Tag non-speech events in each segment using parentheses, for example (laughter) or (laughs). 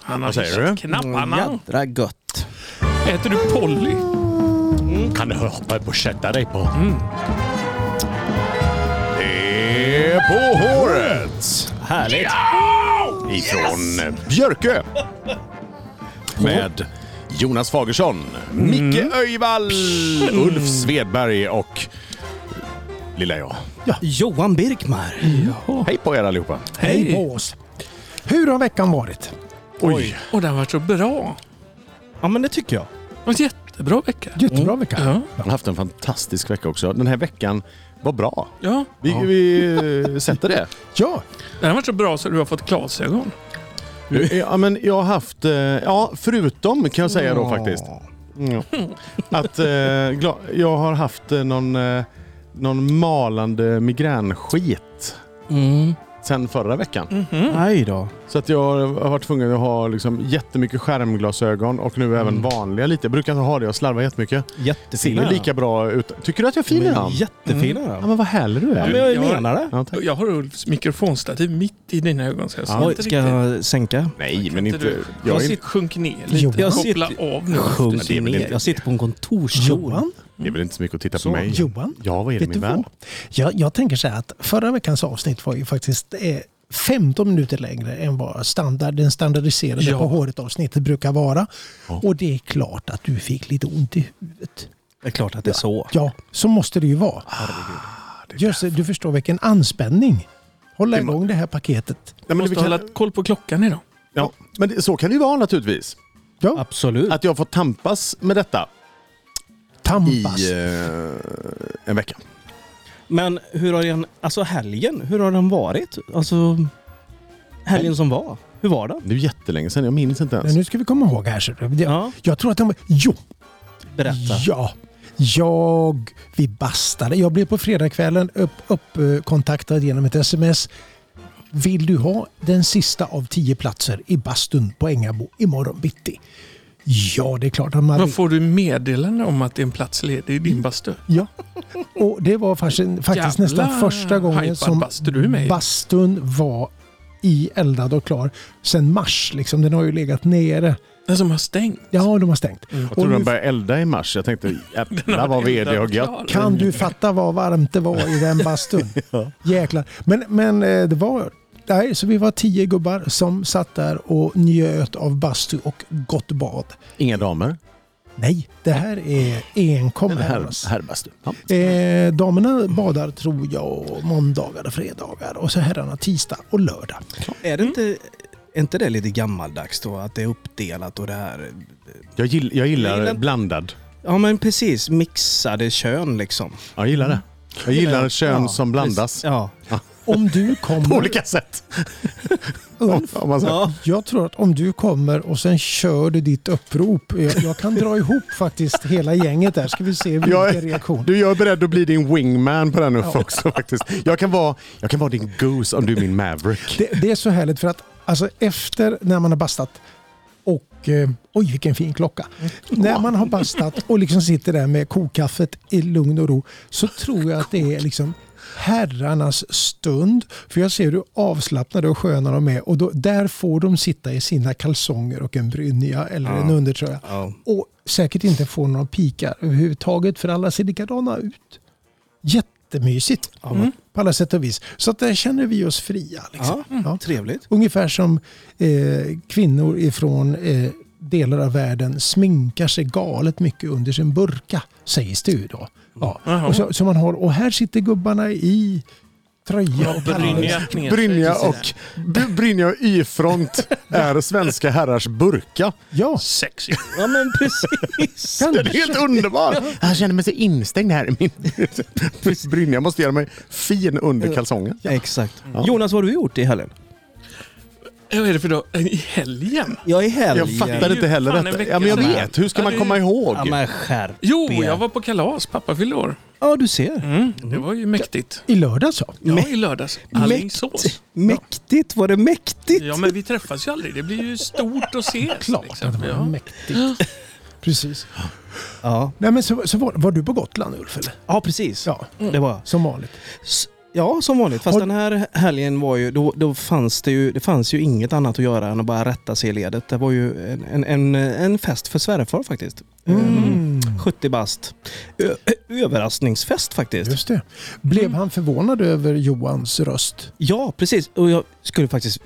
Han har Vad säger hissat du? knapparna. Jädra gött. Mm, Äter du Polly? Kan du hoppa upp och sätta dig på? Mm. Det är på håret! Härligt. Ifrån (laughs) Björkö. Med Jonas Fagersson, Micke Öjvall, Ulf Svedberg och lilla jag. Johan Birkmar. Hej på er allihopa! Mm. Hej på oss. Hur har veckan varit? Oj! Och den var så bra. Ja, men det tycker jag. Mm. Det var en jättebra vecka. Jättebra vecka. Ja. Jag har haft en fantastisk vecka också. Den här veckan var bra. ja. Vi, vi eh, sätter (laughs) det. Ja, Den har varit så bra så du har fått glasögon. Ja, men jag har haft, eh, ja förutom kan jag säga då faktiskt. Ja. Att eh, gla- jag har haft eh, någon, eh, någon malande migränskit sen förra veckan. Mm. Nej då. Så att jag har varit tvungen att ha liksom, jättemycket skärmglasögon och nu även vanliga lite. Jag brukar inte ha det, jag slarvar jättemycket. Ser Jättefina. ju lika bra ut. Tycker du att jag är fin De är idag? Jättefina. Ja Mm. men vad härlig du Ja, är. men jag Jag- menar det. Ja, tack. Jag har Ulfs mikrofonstativ mitt i dina ögon. Så jag ser Oj, inte ska riktigt. jag sänka? Nej men inte... du- Jag Jag är inte sitter, sjunk ner Jo. lite. Jag Koppla sitter- av nu. Sjunk det är väl ner. inte- Jag sitter på en kontorstol. Johan? det är väl inte så mycket att titta på Så, mig. Johan? Ja vad är det Vet du min vän? vad? Jag, jag tänker så här att förra veckans avsnitt var ju faktiskt eh, 15 minuter längre än vad standard, den standardiserade Ja. på håret avsnittet brukar vara. Och det är klart att du fick lite ont i huvudet. Det är klart att det är så. Ja, så måste det ju vara. Just det, du förstår vilken anspänning. Hålla igång det här paketet. Nej, men Måste vi hålla kan, koll på klockan idag. ja, men det, så kan det ju vara naturligtvis. Ja, Absolut. Att jag får tampas med detta i tampas. eh, en vecka. Men hur har den, alltså helgen, hur har den varit? Alltså helgen som var. Hur var den? Det är ju jättelänge sedan, jag minns inte ens. Men nu ska vi komma ihåg här. Så det, Ja. Jag tror att den var... Jo, Berätta. Ja, jag, vi bastade. Jag blev på fredagskvällen upp, upp, eh, kontaktad genom ett sms. Vill du ha den sista av tio platser i bastun på Ängabo imorgon bitti? Ja, det är klart att man Vad vill. får du meddelande om att det är en plats ledig i din bastu? Ja. Och det var faktiskt, faktiskt Jävla nästan första gången hypad som bastu du är med i. bastun var i eldad och klar sen mars. Liksom. Den har ju legat nere. Den som har stängt. Ja, de har stängt. Mm. Jag Och tror nu de började elda i mars. Jag (laughs) tänkte jävlar vad vd och gött. Kan du fatta vad varmt det var i den (laughs) bastun? Jäklar. Men, men eh, det var... Nej, så vi var tio gubbar som satt där och njöt av bastu och gott bad. Inga damer. Nej, det här är enkom En här. herr, alltså. herrbastu. Ja. Eh, damerna badar tror jag måndagar och fredagar och så herrarna tisdag och lördag. Är det inte, är inte det lite gammaldags då? Att det är uppdelat och det här... Jag, gill, jag Jag gillar gillar- blandad. Ja men precis, mixade kön liksom. Ja, jag gillar det. Jag gillar kön Ja, som blandas. Ja. Om du (laughs) På kommer, olika sätt. Ulf, Om man säger. Ja. jag tror att om du kommer och sen kör du ditt upprop. Jag, jag kan dra ihop faktiskt hela gänget där. Ska vi se vilken Jag är- reaktion. Du, jag är beredd att bli din wingman på den här ja. också faktiskt. Jag kan, vara, jag kan vara din goose om du är min maverick. Det, det är så härligt för att alltså, efter när man har bastat och eh, oj vilken fin klocka. När man har bastat och liksom sitter där med kokkaffet i lugn och ro så tror jag att det är liksom herrarnas stund. För jag ser hur avslappnade och sköna de är och då, där får de sitta i sina kalsonger och en brynja eller en undertröja. Ja. Och säkert inte få några pikar överhuvudtaget för alla ser likadana ut. Jättemysigt Mm. på alla sätt och vis. Så att där känner vi oss fria. Liksom. Mm. Ja. Trevligt. Ungefär som eh, kvinnor ifrån eh, delar av världen sminkar sig galet mycket under sin burka, sägs det ju då. Ja. Jaha. Och, så, så man har, och här sitter gubbarna i tröja Brynja. och kallingar. ner sig Brynja till och, Br- Brynja och (laughs) Y-front är svenska herrars burka. Ja, Sexy. Ja men (laughs) precis. Den är helt underbar! Jag känner mig så instängd här. i Min... Brynja måste göra mig fin under kalsongen. Exakt. Jonas, vad har du gjort i helgen? Ja, Vad är det för dag? I helgen? Jag i helgen... Jag Det är fattar ju inte heller fan en detta. vecka Ja, men jag sedan. vet. Hur ska Ja, man det är komma ju- ihåg? Ja men skärp Jo, er. jag var på kalas. Pappa fyllde år. Ja du ser. Mm, det var ju mäktigt. i lördags så. Ja, i lördags. Alingsås. Mäktigt, var det mäktigt? Ja, men vi träffas ju aldrig. Det blir ju stort att ses. Klart liksom. att det var Ja. mäktigt. Precis. Ja, Nej, men så, så var, var du på Gotland Ulf? Eller? ja precis. Ja, Det var jag. som vanligt. S- Ja, som vanligt. Fast Har- den här helgen var ju, då, då fanns det ju, det fanns ju inget annat att göra än att bara rätta sig i ledet. Det var ju en, en, en, en fest för svärfar faktiskt. Ehm, Mm. 70 bast. Ö, ö, överraskningsfest faktiskt. Just det. Blev Mm. han förvånad över Johans röst? Ja, precis. Och jag skulle faktiskt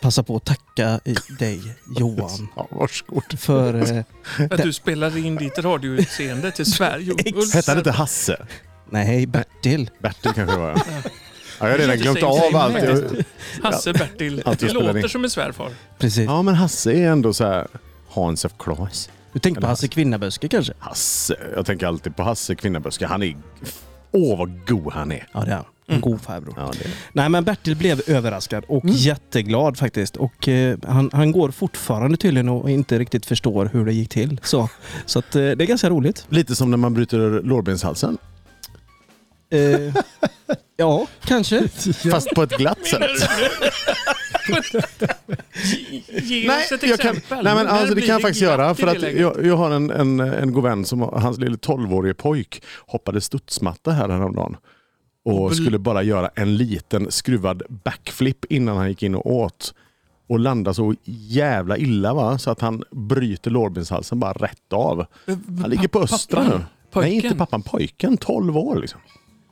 passa på att tacka eh, dig Johan Ja, varsågod. (laughs) för... eh, Att du spelade in ditt radioutseende till (laughs) Sverige. Exakt. Hette han inte Hasse? Nej, Bertil. Bertil kanske det var. Ja, jag har redan glömt Same, av same allt. faktiskt. Jag- Hasse Bertil. Allt jag Det spelar låter in. som en svärfar. Precis. Ja, men Hasse är ändå så här Hans of Claes. Du tänker på Eller Hasse Kvinnaböske kanske? Hasse. Jag tänker alltid på Hasse Kvinnaböske. Han är... Åh, vad god han är. Ja, det är han. En god farbror. Ja, det är. Nej, men Bertil blev överraskad och Mm. jätteglad faktiskt. Och eh, han, han går fortfarande tydligen och inte riktigt förstår hur det gick till. Så, så att, eh, det är ganska roligt. Lite som när man bryter lårbenshalsen. Eh, ja, kanske. Fast på ett glatt sätt. Ge Nej, oss ett jag kan, exempel. nej men När alltså, det blir kan jag faktiskt göra. glatt i För det att läget? jag, jag har en, en, en god vän som har- hans lille 12-årige pojk hoppade studsmatta här häromdagen. Och bl- Och skulle bara göra en liten skruvad backflip innan han gick in och åt. Och landade så jävla illa va? så att han bryter lårbenshalsen bara rätt av. Han ligger på Eh, Pappan? Östra nu. Pojken? Nej, inte pappan. Pojken. 12 år liksom.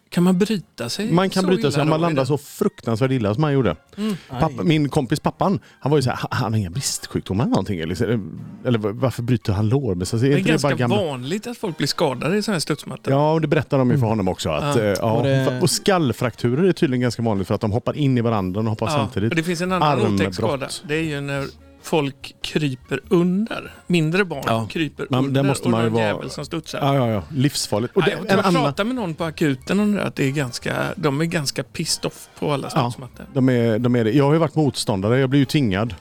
Kan man bryta sig? Man kan så bryta illa sig om man då? landar så fruktansvärt illa som han gjorde. Mm. Pappa, min kompis pappan, han var ju så här, "Ha- han har inga bristsjukdomar eller någonting. Eller, så- eller varför bryter han lår? Men så, Det är är inte det bara ganska gamla... vanligt att folk blir skadade i sådana här studsmattor. Ja, och det berättar de ju för honom också. Att, Ja. eh, ja. Mm. Och Och, det- skallfrakturer är tydligen ganska vanligt för att de hoppar in i varandra och hoppar Ja, samtidigt. Och det finns en annan otäck Armbrott. skada. Det är ju när folk kryper under. Mindre barn Ja. kryper Men under där måste och man ju någon vara- jävel som studsar. Ja, ja, ja. Livsfarligt. Och Nej, det, jag tror en jag annan, pratade med någon på akuten om det där, att det är ganska, de är ganska pissed off på alla Ja. studsmattor. de är, de är det. Jag har ju varit motståndare, jag blir ju tingad.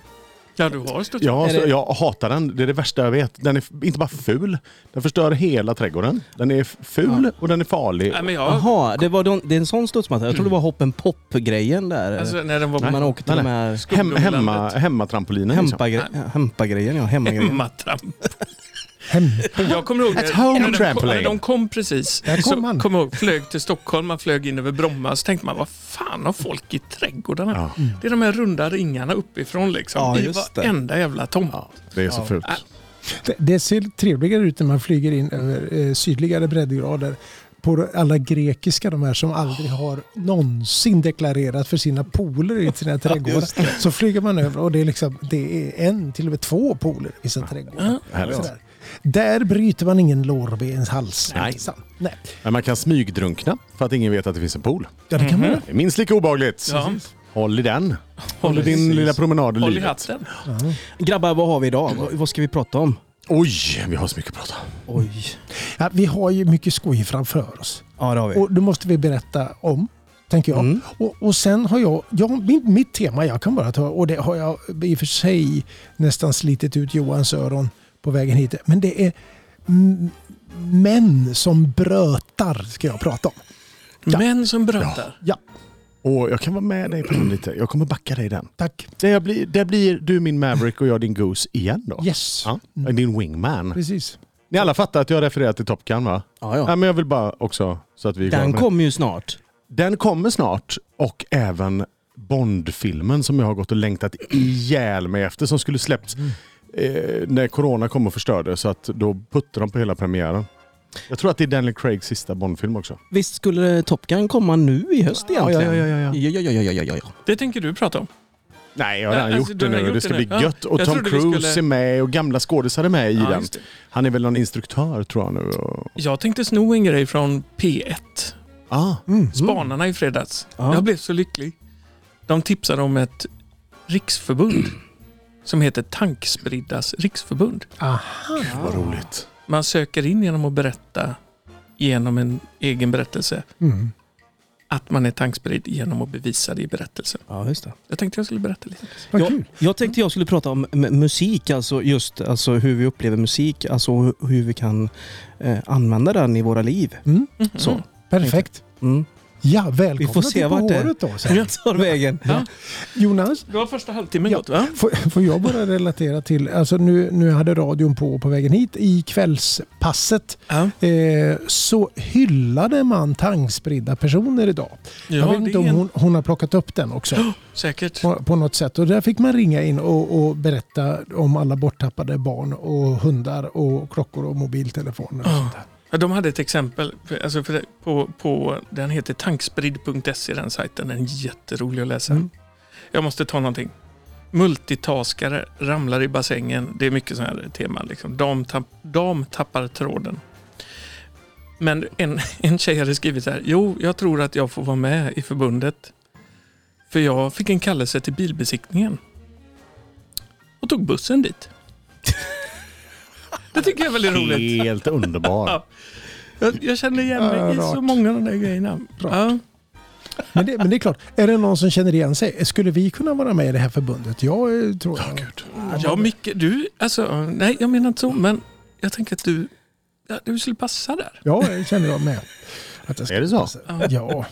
Ja, du har studsmattor. Jag, Är det- jag hatar den, det är det värsta jag vet. Den är f- inte bara ful, den förstör hela trädgården. Den är f- ful och den är farlig. Nej, men jag, Jaha, det, var de, det är en sån studsmatta. Jag trodde det var hoppen pop-grejen där. alltså, när den var man på (laughs) åker till Nej, de här Hem, hemma, Skoglundslandet. hemmatrampolinen. liksom. Mm. hempagre- hempagrejen. Ja, hemmagrejen. hemmatramp. Hem. Jag kommer ihåg At home när, de kom, trampoline. när de kom precis. Där kom så han. kom jag ihåg, flög till Stockholm, man flög in över Bromma. Så tänkte man, vad fan har folk i trädgårdarna? Ja. Det är de här runda ringarna uppifrån liksom. Ja, I just det. varenda jävla tomt. Ja, det är så Ja. fult. Äh. Det, det ser trevligare ut när man flyger in över eh, sydligare breddgrader på alla grekiska, de här som aldrig har någonsin deklarerat för sina pooler i (laughs) sina trädgårdar. Så flyger man över och det är, liksom, det är en, till och med två pooler i sina trädgårdar. Härligt. Sådär. Där bryter man ingen lårbenshals. Nej. Inte sant? Nej. Men man kan smygdrunkna för att ingen vet att det finns en pool. Ja, det kan man göra. Det är minst lika obehagligt. Ja. Håll i den. Håll i Håll i- din lilla promenad i Håll i livet. hatten. Grabbar, vad har vi idag? Mm. Vad, vad ska vi prata om? Oj, vi har så mycket att prata om. Oj. Ja, vi har ju mycket skoj framför oss. Ja, det har vi. Och det måste vi berätta om, tänker jag. Mm. Och, och sen har jag, jag mitt, mitt tema jag kan bara ta, och det har jag i och för sig nästan slitit ut Johans öron på vägen hit. Men det är m- män som brötar, ska jag prata om. Ja. Män som brötar. Ja, Och jag kan vara med dig på den lite. Jag kommer backa dig i den. tack. Där blir, där blir du min Maverick och jag din Goose igen då. Yes. Ja, din Wingman. Precis. Ni alla fattar att jag refererar till Top Gun va? Ja, ja. Nej, men jag vill bara också så att vi är klara Den med det. kommer ju snart. Den kommer snart och även Bond-filmen som jag har gått och längtat ihjäl mig efter som skulle släppts Mm. eh, när corona kom och förstörde så att då puttade de på hela premiären. Jag tror att det är Daniel Craigs sista Bond-film också. Visst skulle Top Gun komma nu i höst egentligen? Ja, ja, ja, ja, ja. ja, ja, ja, ja, ja, ja. Det tänker du prata om. Nej, jag har redan Ja, gjort alltså, du det har nu. gjort det ska det nu. bli gött. Och jag Tom trodde vi Cruise skulle- är med och gamla skådisar är med i Ja, den. just det. Han är väl någon instruktör tror jag nu. Och... Jag tänkte sno en grej från P1. Ah, Spanarna i fredags. Mm. Ja. Jag blev så lycklig. De tipsade om ett riksförbund som heter Tankspriddas riksförbund. Aha. vad roligt. Man söker in genom att berätta genom en egen berättelse Mm. att man är tankspridd genom att bevisa det i berättelsen. Ja, just det. Jag tänkte jag skulle berätta lite. Vad Ja. kul. Jag tänkte jag skulle prata om m- musik, alltså just alltså hur vi upplever musik, alltså hu- hur vi kan eh, använda den i våra liv. Mm. Mhm. Så. Perfekt. Mm. Ja, välkomna Vi får se till på vart det är. håret då. Så. Jag tar vägen. Ja. Jonas, Du har första halvtimmen Ja. gått va? får, får jag bara relatera till, alltså nu, nu hade radion på på vägen hit i kvällspasset Ja, eh, så hyllade man tangspridda personer idag. jag vet inte det om är en- hon, hon har plockat upp (gasps) den också. Säkert. på, på något sätt. Och där fick man ringa in och, och berätta om alla borttappade barn och hundar och klockor och mobiltelefoner. (laughs) Och Ja. sånt där. Ja, de hade ett exempel för- alltså för det, på, på, den heter tankspridd.se E, den sajten. Den är jätterolig att läsa. Mm. Jag måste ta någonting. Multitaskare ramlar i bassängen. Det är mycket sådana här teman. Liksom. Dam, tapp, dam tappar tråden. Men en, (laughs) en tjej hade skrivit så här. Jo, jag tror att jag får vara med i förbundet. För jag fick en kallelse till bilbesiktningen. Och tog bussen dit. Det tycker jag är väldigt roligt. (laughs) Helt underbar. Jag, jag känner igen mig Ja, i så rart. många av de där grejerna. Ja. Men, det, men det är klart, är det någon som känner igen sig? Skulle vi kunna vara med i det här förbundet? Jag eh, tror jag. ja, mycket. Du, alltså, nej, jag menar inte så, men jag tänker att du, ja, du skulle passa där. Ja, jag känner jag med. Att jag Är det så? passa. (laughs) Ja,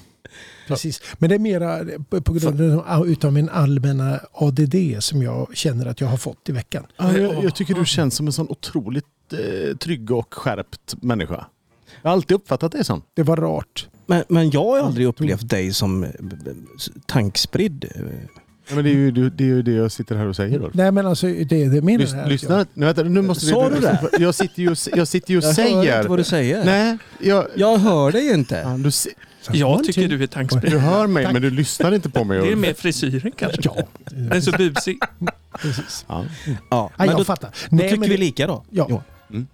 precis. Men det är mera på- på grund av utav min allmänna ADD som jag känner att jag har fått i veckan. Ja, Oj, jag, jag tycker aha. du känns som en sån otroligt eh, trygg och skärpt människa. Jag har alltid uppfattat dig som. Det var rart. Men, men jag har ju aldrig upplevt dig som eh, tankspridd. Ja, men det, är ju, det, det är ju det jag sitter här och säger. Då. Nej men alltså det, det menar Lys, jag. lyssna, nu, vänta, nu måste vi- Sa du det? (laughs) Jag sitter ju och, jag sitter ju och Jag hör inte säger. vad du säger. Nej, jag, Jag hör dig inte. Fan, du, se- Jag tycker du är tankspridd. du hör mig men du lyssnar inte på mig. Det är mer frisyren kanske. Ja, Den är så busig. precis. Ja. Ja, Nej, men då, jag då fattar. Nej, tycker men vi det- lika då. Ja. Johan.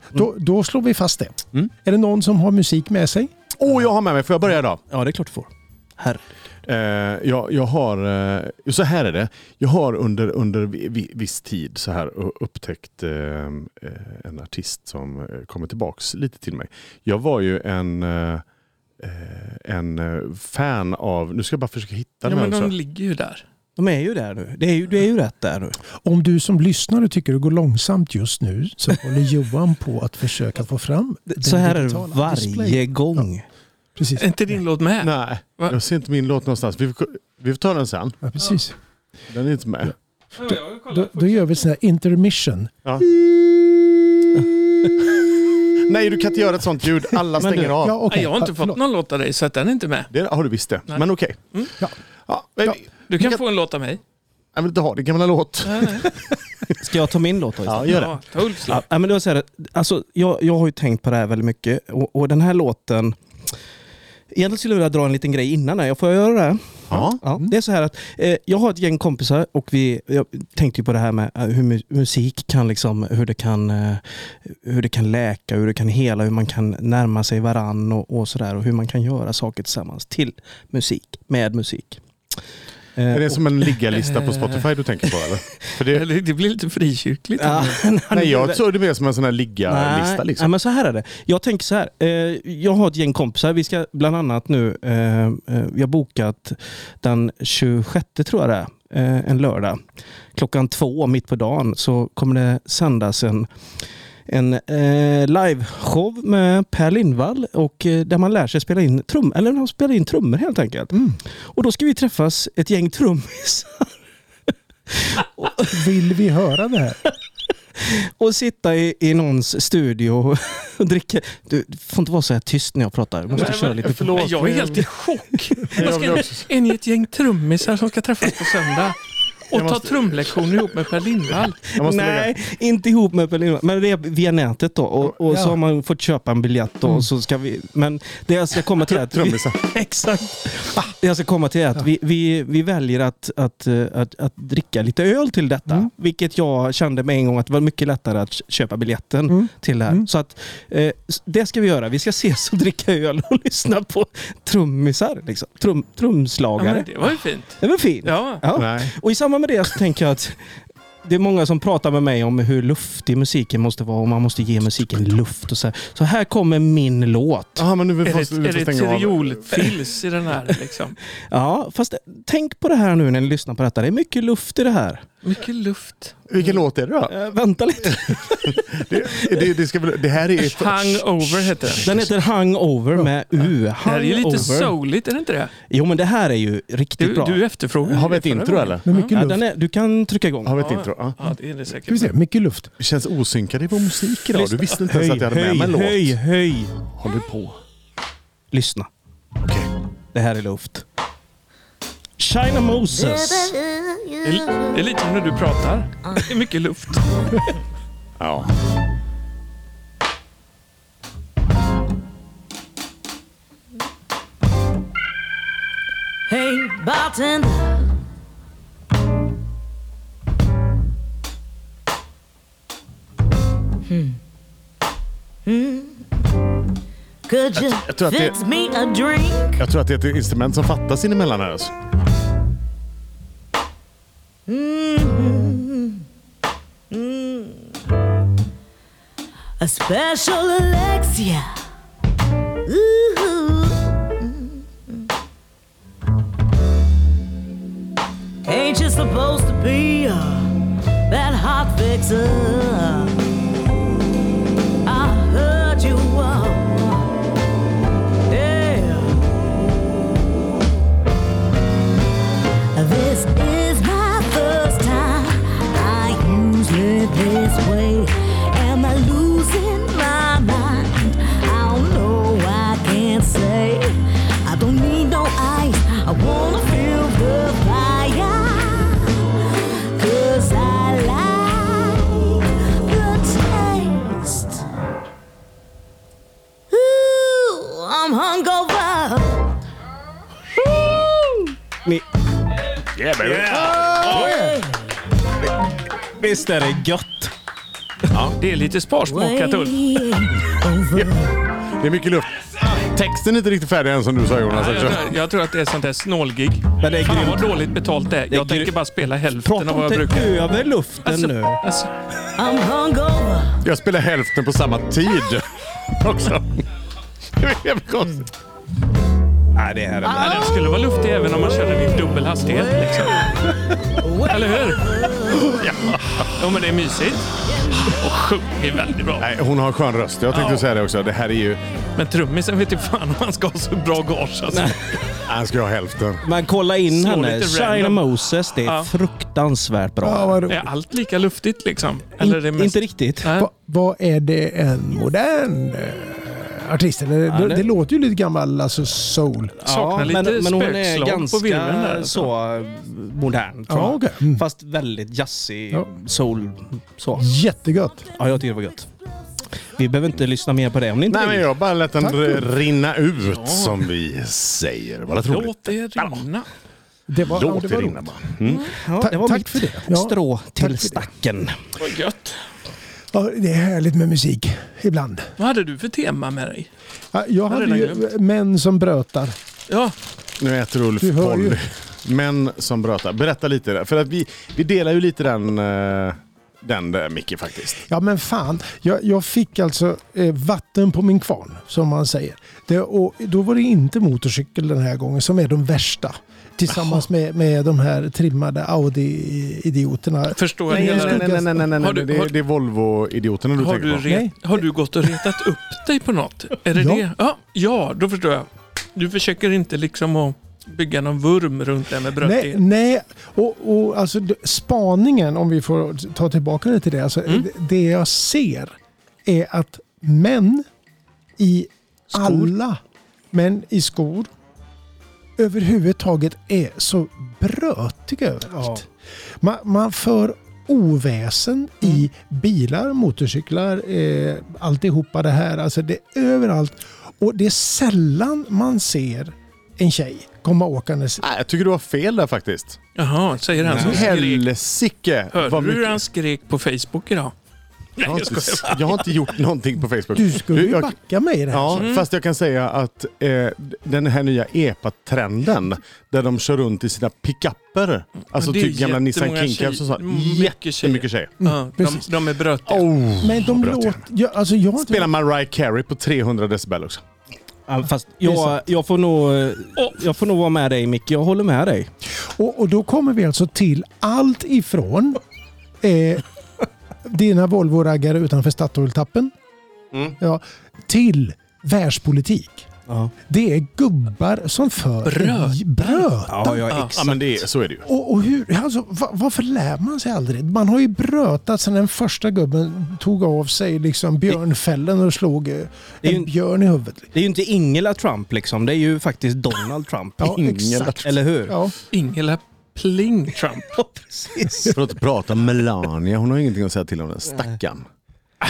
Då, då slår vi fast det. Mm. Är det någon som har musik med sig? Åh, jag har med mig. Får jag börja då? ja, det är klart du får. Herre. Eh, jag, jag har, eh, så här är det, jag har under, under vi- vi- viss tid så här u- upptäckt eh, eh, en artist som eh, kommer tillbaks lite till mig. Jag var ju en, eh, eh, en eh, fan av, nu ska jag bara försöka hitta Ja, den här men de också. ligger ju där. De är ju där nu. Det är ju, du är ju rätt där nu. Om du som lyssnare tycker det går långsamt just nu så håller Johan på att försöka få fram den Så här är det digitala displayen. varje gång. Precis. Är inte din låt med? Nej, Va? jag ser inte min låt någonstans. Vi får, vi får ta den sen. Ja, precis. Den är inte med. Då, då gör vi sån här intermission. Ja. Nej, du kan inte göra ett sånt ljud. Alla Men du- stänger av. eh, Ja, okej. Nej, jag har inte Ja, fått förlåt. någon låt av dig, så att den är inte med. Det har du visst det, Nej. men okej. Mm. Ja. Ja, men Ja. vi- Du kan Jag- få en låt av mig. Jag vill inte ha din gamla låt. Nej, nej. Ska jag ta min låt då istället? Ja, gör det. Ja, ta Ulfs låt. Ja, men det var så här, alltså, jag, jag har ju tänkt på det här väldigt mycket och, och den här låten... Egentligen skulle jag vilja dra en liten grej innan. Här. Får jag göra det? Ja. Ja, det är så här att eh, jag har ett gäng kompisar och vi jag tänkte ju på det här med eh, hur mu- musik kan liksom, hur det kan, eh, hur det kan läka, hur det kan hela, hur man kan närma sig varann och, och sådär och hur man kan göra saker tillsammans till musik, med musik. Eh, Är det och- som en liggalista på Spotify du tänker på eller? För det, Det det blir lite frikyrkligt. (laughs) Ja, nej, (laughs) jag såg det mer som en sån här liggalista. (laughs) Nej, Liksom. nej, men så här är det. Jag tänker så här. Eh, jag har ett gäng kompisar. Vi ska bland annat nu, eh, eh, vi har bokat den 26 tror jag det är, eh, en lördag. Klockan två mitt på dagen så kommer det sändas en en eh, liveshow med Per Lindvall och eh, där man lär sig spela in trum eller de spelar in trummor helt enkelt. Mm. Och då ska vi träffas ett gäng trummisar Vill vi höra det här? och sitta i, i någons studio och (laughs) dricka. Du, du får inte vara så här tyst när jag pratar. Du måste Nej, köra men- lite. Nej, jag är helt i chock. Vad ska vill ni- också- Är ni ett gäng trummisar som ska träffas på söndag? Och ta måste- trumlektioner ihop med Per Lindvall? Jag måste Nej, inte ihop med Per Lindvall. Men det är via nätet då. Och, och Ja. så har man fått köpa en biljett då. Och så ska vi, men det jag ska komma till är att... vi- Trummisar. (laughs) Exakt. Det jag ska komma till är att vi, vi, vi väljer att, att, eh, att, att dricka lite öl till detta. Mm. Vilket jag kände med en gång att det var mycket lättare att köpa biljetten Mm. Mm. till det här. Så att, eh, s- det ska vi göra. Vi ska ses och (laughs) dricka öl och lyssna på trummisar. Liksom. Trum, Ja, men trumslagare. det var ju fint. Det var fint. Ja. Ja. Nej. Och i samband med det så tänker jag att det är många som pratar med mig om hur luftig musiken måste vara och man måste ge musiken luft. Och så, här. så här kommer min låt. Aha, men nu Är vill det, vi är vi det får ett stänga av. triolfills i den här liksom? Ja, fast tänk på det här nu när ni lyssnar på detta. Det är mycket luft i det här. Mycket luft. Vilken låt är det då? Eh, vänta lite. Det, det, det, ska, väl- det här är... Hangover heter den. Den heter Hangover med U. Det här är ju lite Hangover. souligt, är det inte det? Jo men det här är ju riktigt Du, bra. du efterfrågar Har vi ett intro eller? Med mycket Ja, luft. den är, du kan trycka igång. Har vi ett Ja. intro? Ja. Ja, det är det säkert. Ska vi se, mycket luft. Det känns osynkade i vår musik idag. Du visste inte ens att jag hade med mig en låt. höj, höj. Håller på. Lyssna. Okej. Det här är luft. China Moses. Det är, det är lite som när du pratar. Det är mycket luft. Ja. Hey, bartender. Hmm. Hmm. Could you jag tror att det- fix me a drink? Jag tror att det är ett instrument som fattas in emellan här. Alltså. A special Alexia. Ooh. Ain't you supposed to be uh, that hot fixer? I heard you were. Yeah. This is my first time. I usually this way. Am I losing my mind? I don't know. I can't say. I don't need no ice. I wanna feel the fire. Cause I like the taste. Ooh, I'm hungover. Ni, Yeah, baby. visst är det gött? Det är lite sparsmakat, Ulf. Det är mycket luft. Texten är inte riktigt färdig än som du sa Jonas. Jag Också. tror, jag tror att det är sånt där snålgig. Men det är Fan grymt. vad dåligt betalt det är. Jag grymt. tänker bara spela hälften Prata av vad jag inte brukar. över luften nu. alltså, I'm hungover. Jag spelar hälften på samma (laughs) tid också. Det är jävligt konstigt. Nej, det här är nej, den skulle vara luftig även om man körde den i dubbel hastighet. Liksom. Eller hur? Ja, men det är mysigt. Och sjunger väldigt bra. Nej, hon har skön röst. Jag tänkte Ja. säga det också. Det här är ju... Men trummisen vet ju fan om han ska ha så bra gage. Alltså. Han ska ha hälften. Men kolla in Slå henne. lite China random. Moses, det är Ja. fruktansvärt bra. Ja, vad, Är roligt. allt lika luftigt liksom? Eller är det In- mest... Inte riktigt. Nej. Va, vad är det en modern eh, artist? Eller, det, det- det låter ju lite gammal, alltså soul. Saknar lite men, men hon är spökslag på ganska virveln där, alltså. så eh, modern tror Ja, jag. okej. Mm. Fast väldigt jazzig Ja. soul. Så. Jättegött. Ja, jag tycker det var gött. Vi behöver inte lyssna mer på det om ni inte Nej, men vill. jag bara lät den Tack. rinna ut som vi säger. Vad roligt. Låt det rinna. Det var, ja, Låt det det var rinna roligt. bara. Mm. Ja, Ta- det var tack mitt för det. Ja, strå för det. till stacken. Vad gött. Ja, det är härligt med musik ibland. Vad hade du för tema med dig? Ja, Jag har hade redan ju män som brötar. Ja, Nu äter Ulf Du hör ju. Polly. Män som brötar. Berätta lite. där. För att vi, vi delar ju lite den, eh, den där Micke faktiskt. Ja men fan, jag, jag fick alltså eh, vatten på min kvarn som man säger. Det, och då var det inte motorcykel den här gången som är de värsta. Tillsammans med, med de här trimmade Audi-idioterna. förstår jag. Nej, hela- nej, nej, nej, nej, nej, nej. Har du- det, har- det är Volvo-idioterna du Har tänker du, på. re- Nej. har du gått och retat upp dig på något? Är det Ja. det? Ja, ja, då förstår jag. Du försöker inte liksom att bygga någon vurm runt det här med Nej, brödtid. nej. Och, och alltså d- spaningen, om vi får ta tillbaka det till det. Alltså, Mm. d- Det jag ser är att män i Skor. alla, män i skor, överhuvudtaget är så brötiga överallt. Man, man för oväsen i Mm. bilar, motorcyklar, eh, alltihopa det här. Alltså det är överallt. Och det är sällan man ser en tjej komma åkandes Nej, jag tycker du har fel där faktiskt. Jaha, säger han som skrek. Helsike! Hörde vad du hur mycket- han skrek på Facebook idag? Nej, jag, har jag inte, skojar. jag har inte gjort någonting på Facebook. Du skulle ju jag, backa mig i det här. Ja, Mm. fast jag kan säga att eh, den här nya EPA-trenden där de kör runt i sina pickuper. Alltså det är typ gamla Nissan jättemånga Kinkabs och sånt. tjejer. Mycket Jättemycket tjejer. Ja, de, Mm, precis. de är brötiga. Oh, Mm. Men de bröt jag. låter... Jag, alltså jag har inte... Spelar Mariah Carey på 300 decibel också. Ja, Fast är jag, sant. jag, får nog, eh, jag får nog vara med dig Micke. Jag håller med dig. Och, och då kommer vi alltså till allt ifrån eh, dina Volvo-raggare utanför Statoil-tappen ja, till världspolitik. Mm. Ja, Det är gubbar som för Brötar. brötar. ja, jag, Ja, exakt. men det är, så är det ju. Och, och hur, alltså, va, varför lär man sig aldrig? Man har ju brötat sedan den första gubben tog av sig liksom björnfällen och slog eh, Det är ju en en- björn i huvudet. Det är ju inte Ingela Trump liksom. Det är ju faktiskt Donald Trump. Ja, Ingen- exakt. Eller hur? Ja. Ingela Pling Trump. Ja, precis. För att prata Melania, hon har ingenting att säga till om den stackarn.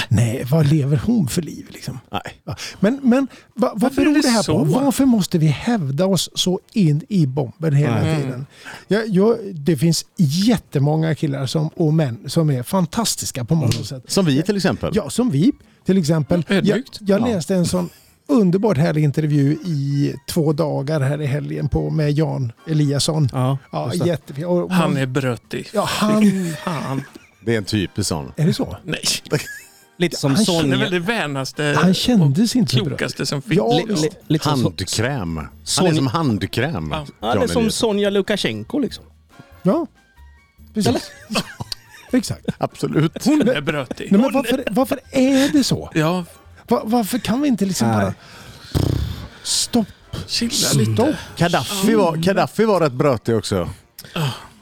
Nej, vad lever hon för liv? Liksom? Nej. Ja. Men, men va, vad Varför är beror det det här så? på? Varför måste vi hävda oss så in i bomben hela Mm. tiden? Jag, jag, det finns jättemånga killar som, och män som är fantastiska på många sätt. Som vi till exempel. Ja, som vi till exempel. Mm, Jag, ödmjukt. jag Ja. läste en sån underbart härlig intervju i två dagar här i helgen på, med Jan Eliasson. Ja, Ja, just det. jättefin. Och- Han är brötig. Ja, (laughs) han... Fan. Det är en typisk sån. Är det så? Nej. lite som Han Han är Sonja. väl det vänaste Han och kändes inte så bra. klokaste som finns. Ja, li- li- visst. lite som Son- Handkräm. Han är Sonny- som handkräm. Ja. Ja, det är Jan som Eliasson. Sonja Lukasjenko liksom. Ja, precis. (laughs) Exakt. Absolut. Hon är brötig. Nej, men varför, varför är det så? Ja, Va- varför kan vi inte liksom Nej. bara... Stopp, chilla stopp. lite. Kadaffi var, Kadaffi var rätt brötig också.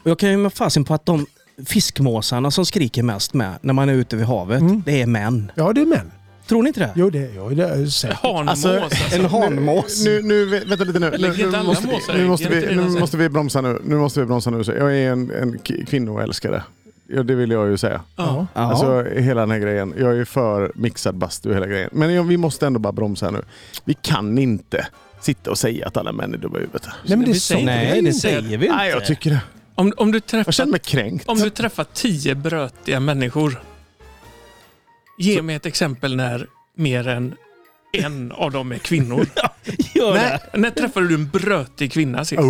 Och jag kan ju med fasen på att de fiskmåsarna som skriker mest med när man är ute vid havet, det är män. Ja, det är män. Tror ni inte det? Jo, det, jo, det är säkert. Hanmås alltså. hanmås. Nu, nu, vänta lite nu. Lägger Nu, inte nu, alla måste, måsar vi, nu, ägg? måste, Är det inte vi, det de nu säger? måste vi bromsa nu. Nu måste vi bromsa nu. Så Jag är en, en k- kvinnoälskare. Ja, det vill jag ju säga. Ja. Ja. Alltså hela den här grejen. Jag är för mixad bastu och hela grejen. Men jag- vi måste ändå bara bromsa här nu. Vi kan inte sitta och säga att alla män är dumma i huvudet. Nej, men det Vi sa säger inte vi Nej, ju det inte. säger vi inte. Nej, jag tycker det. Om, om, du Jag känner träffar, mig kränkt. om du träffar tio brötiga människor, ge mig ett exempel när mer än en av dem är kvinnor. (laughs) Gör Nej. Oh. det. när träffade du en brötig kvinna sist? Ja, Nu,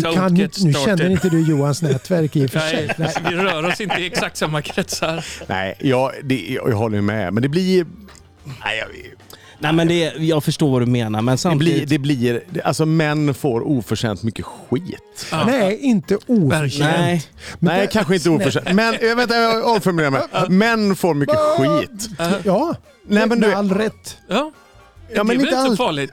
don't kan, get nu started. känner inte du Johans nätverk i och för sig. Nej, vi rör oss inte i exakt samma kretsar. Nej, jag, det, jag, jag håller ju med. Men det blir... Nej, jag, Nej, men det, är- jag förstår vad du menar, men det samtidigt... blir, det blir det, alltså män får oförtjänt mycket skit. Ja. Nej, inte Verkligen. oförtjänt. Nej. Men Nej, det- kanske inte oförtjänt. Men, eh, vänta, jag omformulerar mig. Män får mycket skit. Ja, Nej, men med du- all rätt. Ja, Ja, det men är väl inte inte så allt.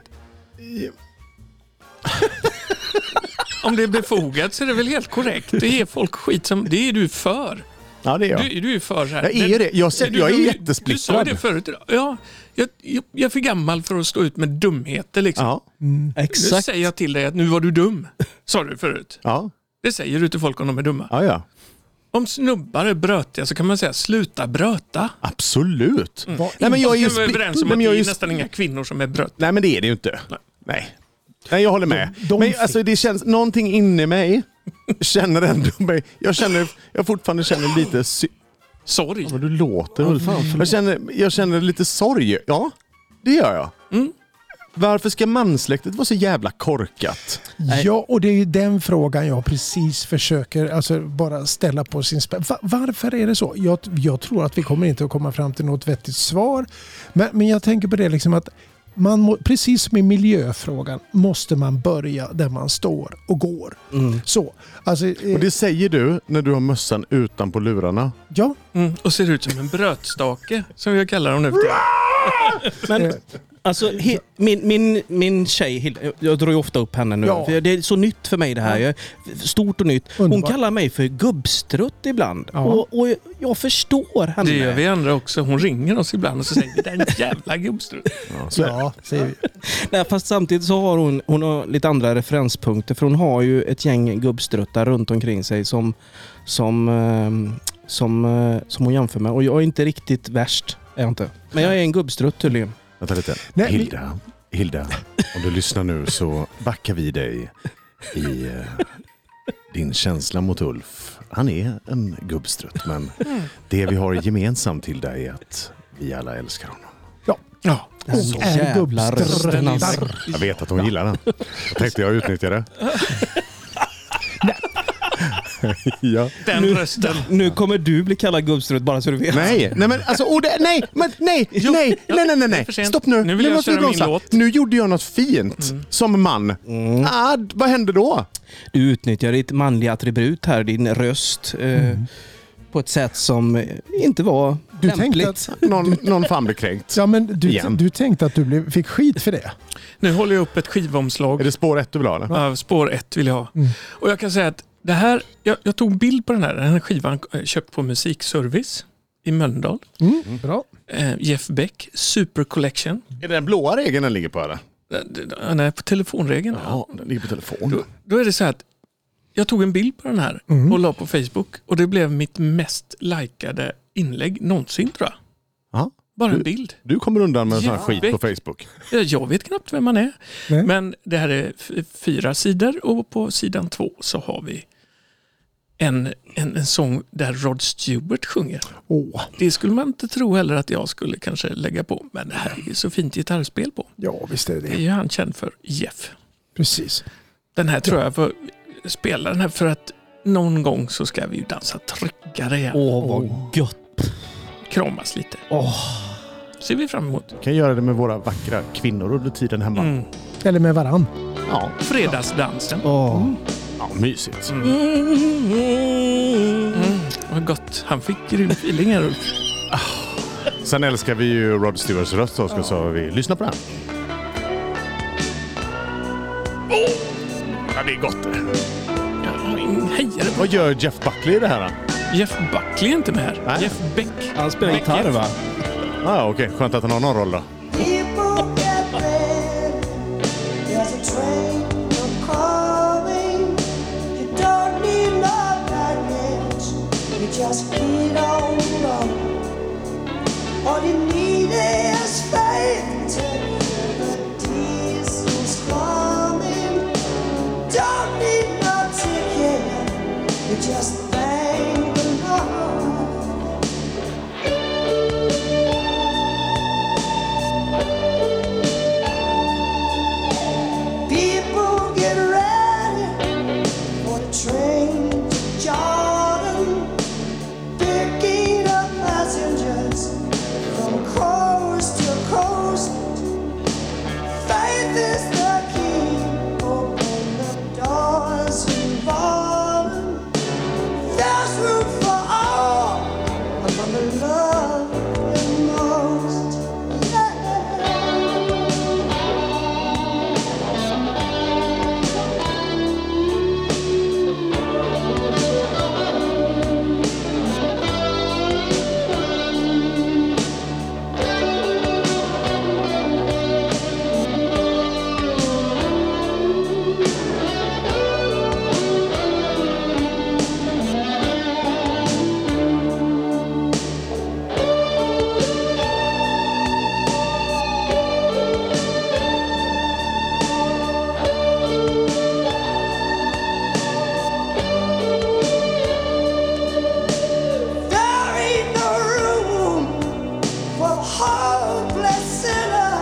farligt? (laughs) Om det är befogat så är det väl helt korrekt. Det ger folk skit som... Det är du för. Ja, det är jag. Du, du är för så här. Jag är ju det. Jag, ser, Du- jag är du- Du sa jättesplittrad. det förut idag. Ja, jag, jag, jag är för gammal för att stå ut med dumheter. Liksom. Ja, nu Exakt. säger jag till dig att nu var du dum. Sa du förut. ja, Det säger du till folk om de är dumma. ja, ja. Om snubbar är brötiga så kan man säga sluta bröta. Absolut. Vad Nej, men jag är ju Då kan vi vara överens om splittrad. Nej, att men det jag är är ju nästan inga kvinnor som är bröt. Nej men det är det ju inte. Nej. Nej, Nej jag håller med. de men fick- alltså, det känns, någonting inne i mig känner ändå mig. Jag känner, jag fortfarande känner lite sy- Sorg. Vad du låter Ulf. Jag känner, jag känner lite sorg. Ja, det gör jag. Mm. Varför ska mansläktet vara så jävla korkat? Ja, och det är ju den frågan jag precis försöker alltså, bara ställa på sin spets. Va, varför är det så? Jag, jag tror att vi kommer inte att komma fram till något vettigt svar. Men, men jag tänker på det liksom att man må, precis som i miljöfrågan måste man börja där man står och går. Så, alltså, eh, Och det säger du när du har mössan utan på lurarna. ja, Mm, och ser ut som en brötstake, som jag kallar dem nu för tiden. Men, Eh, alltså, he, min, min, min tjej, Hilda- jag drar ju ofta upp henne nu. Ja. För det är så nytt för mig det här. Jag, stort och nytt. Hon Underbart. kallar mig för gubbstrutt ibland. Ja. Och, och jag, jag förstår henne. Det gör vi andra också. Hon ringer oss ibland och så säger vi den jävla gubbstruten. Så är det. ja, säger vi. Nej, fast samtidigt så har hon, hon har lite andra referenspunkter för hon har ju ett gäng gubbstruttar runt omkring sig som, som, ehm, som, eh, som hon jämför med. Och jag är inte riktigt värst, är jag inte. Men jag är en gubbstrutt tydligen. Vänta lite. Nej, vi- Hilda, Hilda, om du lyssnar nu så backar vi dig i eh, din känsla mot Ulf. Han är en gubbstrutt, men det vi har gemensamt Hilda är att vi alla älskar honom. Ja. Och Så är jävla rösten gubbstruttar. alltså. Jag vet att hon gillar den. Jag tänkte jag utnyttjar det. ja. Den Nu- rösten. Nu kommer du bli kallad gubbstrut bara så du vet. Nej, nej men alltså, oh, det, nej, men nej, (laughs) Jo, nej, ja, nej, nej, nej, det är för nej. sent. Stopp nu. Nu vill jag måste vi köra min bromsa. låt. Mm. Nu gjorde jag något fint som man. Ah, d- vad hände då? Du utnyttjar ditt manliga attribut här, din röst. Eh, På ett sätt som eh, inte var Du lämpligt. tänkte att, Någon, någon fan blev kränkt. ja, men du, Igen. du tänkte att du blev, fick skit för det? Nu håller jag upp ett Är skivomslag det spår ett du vill ha eller? av spår ett vill jag ha. Mm. Och jag kan säga att det här, jag, jag tog bild på den här, den här skivan eh, köpt på Musikservice i Mölndal. Mm. Bra. Eh, Jeff Beck, Super Collection. Är det den blåa regeln den ligger på eller? Eh, d- d- Nej, på telefonregeln. Ja, den ligger på Då, telefonen. då är det så här att jag tog en bild på den här Mm. och la på Facebook och det blev mitt mest likade inlägg någonsin tror jag. Ja. Bara en Du- bild. Du kommer undan med sån här Ja. skit på Facebook. Ja, Jag vet knappt vem man är. Nej. Men det här är f- fyra sidor och på sidan två så har vi en, en, en sång där Rod Stewart sjunger. Åh, Det skulle man inte tro heller att jag skulle kanske lägga på. Men det här är ju så fint gitarrspel på. ja, visst är det Det är det. ju han känd för, Jeff. Precis. Den här tror jag får spela den här för att någon gång så ska vi ju dansa tryckare igen. Åh, vad gött. Kramas lite. Åh. Ser vi fram emot. Kan göra det med våra vackra kvinnor under tiden hemma. Mm. Eller med varann. Ja. Fredagsdansen. Åh. ja, mysigt. Mm. Vad gott. Han fick grym feeling här Ulf. Sen älskar vi ju Rod Stewarts röst så ska så vi lyssna på den. Oh! Ja, det är gott det. Ja, in- Hejare på. Vad gör Jeff Buckley i det här? då? Jeff Buckley är inte med här. Nej. Jeff Beck. Han spelar gitarr va? Ah, Okej, skönt att han har någon roll då. People get there. There's a train you're calling. You don't need no baggage. You just get on up. All you need is faith to hear the diesel's coming. Don't need no ticket. You just thank the Lord. People get ready for the train to Jordan, picking up passengers from coast to coast. Faith is the key, open the doors involved. There's room for all, among the love and most. Yeah. There ain't no room for a hopeless sinner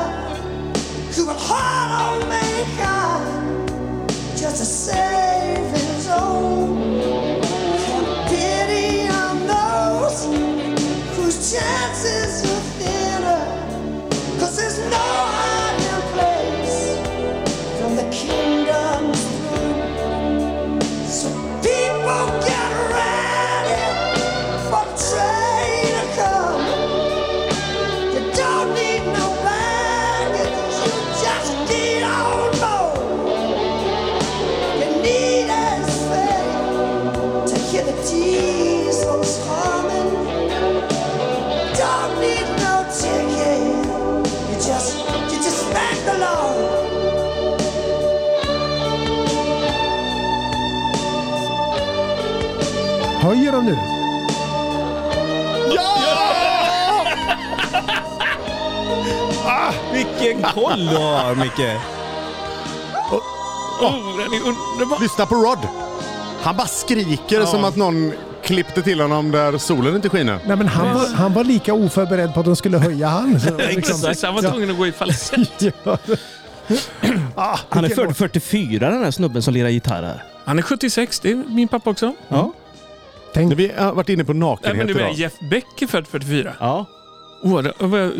who will hard on mankind just to save his own. Have pity on those whose chances are thinner, cause there's no hiding place from the kingdom's throne. So people get ready for the train to come. You don't need no baggage, you just need on board. You need as faith to hear the diesels humming. Don't need no ticket, you just, you just thank the Lord. Höjer de nu? Vilken koll du har Micke. Oh, den är underbar. Lyssna på Rod. Han bara skriker som att någon klippte till honom där solen inte skiner. Nej, men han, var, han var lika oförberedd på att de skulle höja han. Så, liksom- Exakt. Han var Ja. tvungen att gå i (laughs) falsett. Ja. Ah, Han är vilken född 44 den här snubben som lirar gitarr här. Han är 76, det är min pappa också. Ja. Tänk Vi har varit inne på Nej, men nakenhet du menar idag. Jeff Beck är född 44. Ja. Oh, det, vad jag-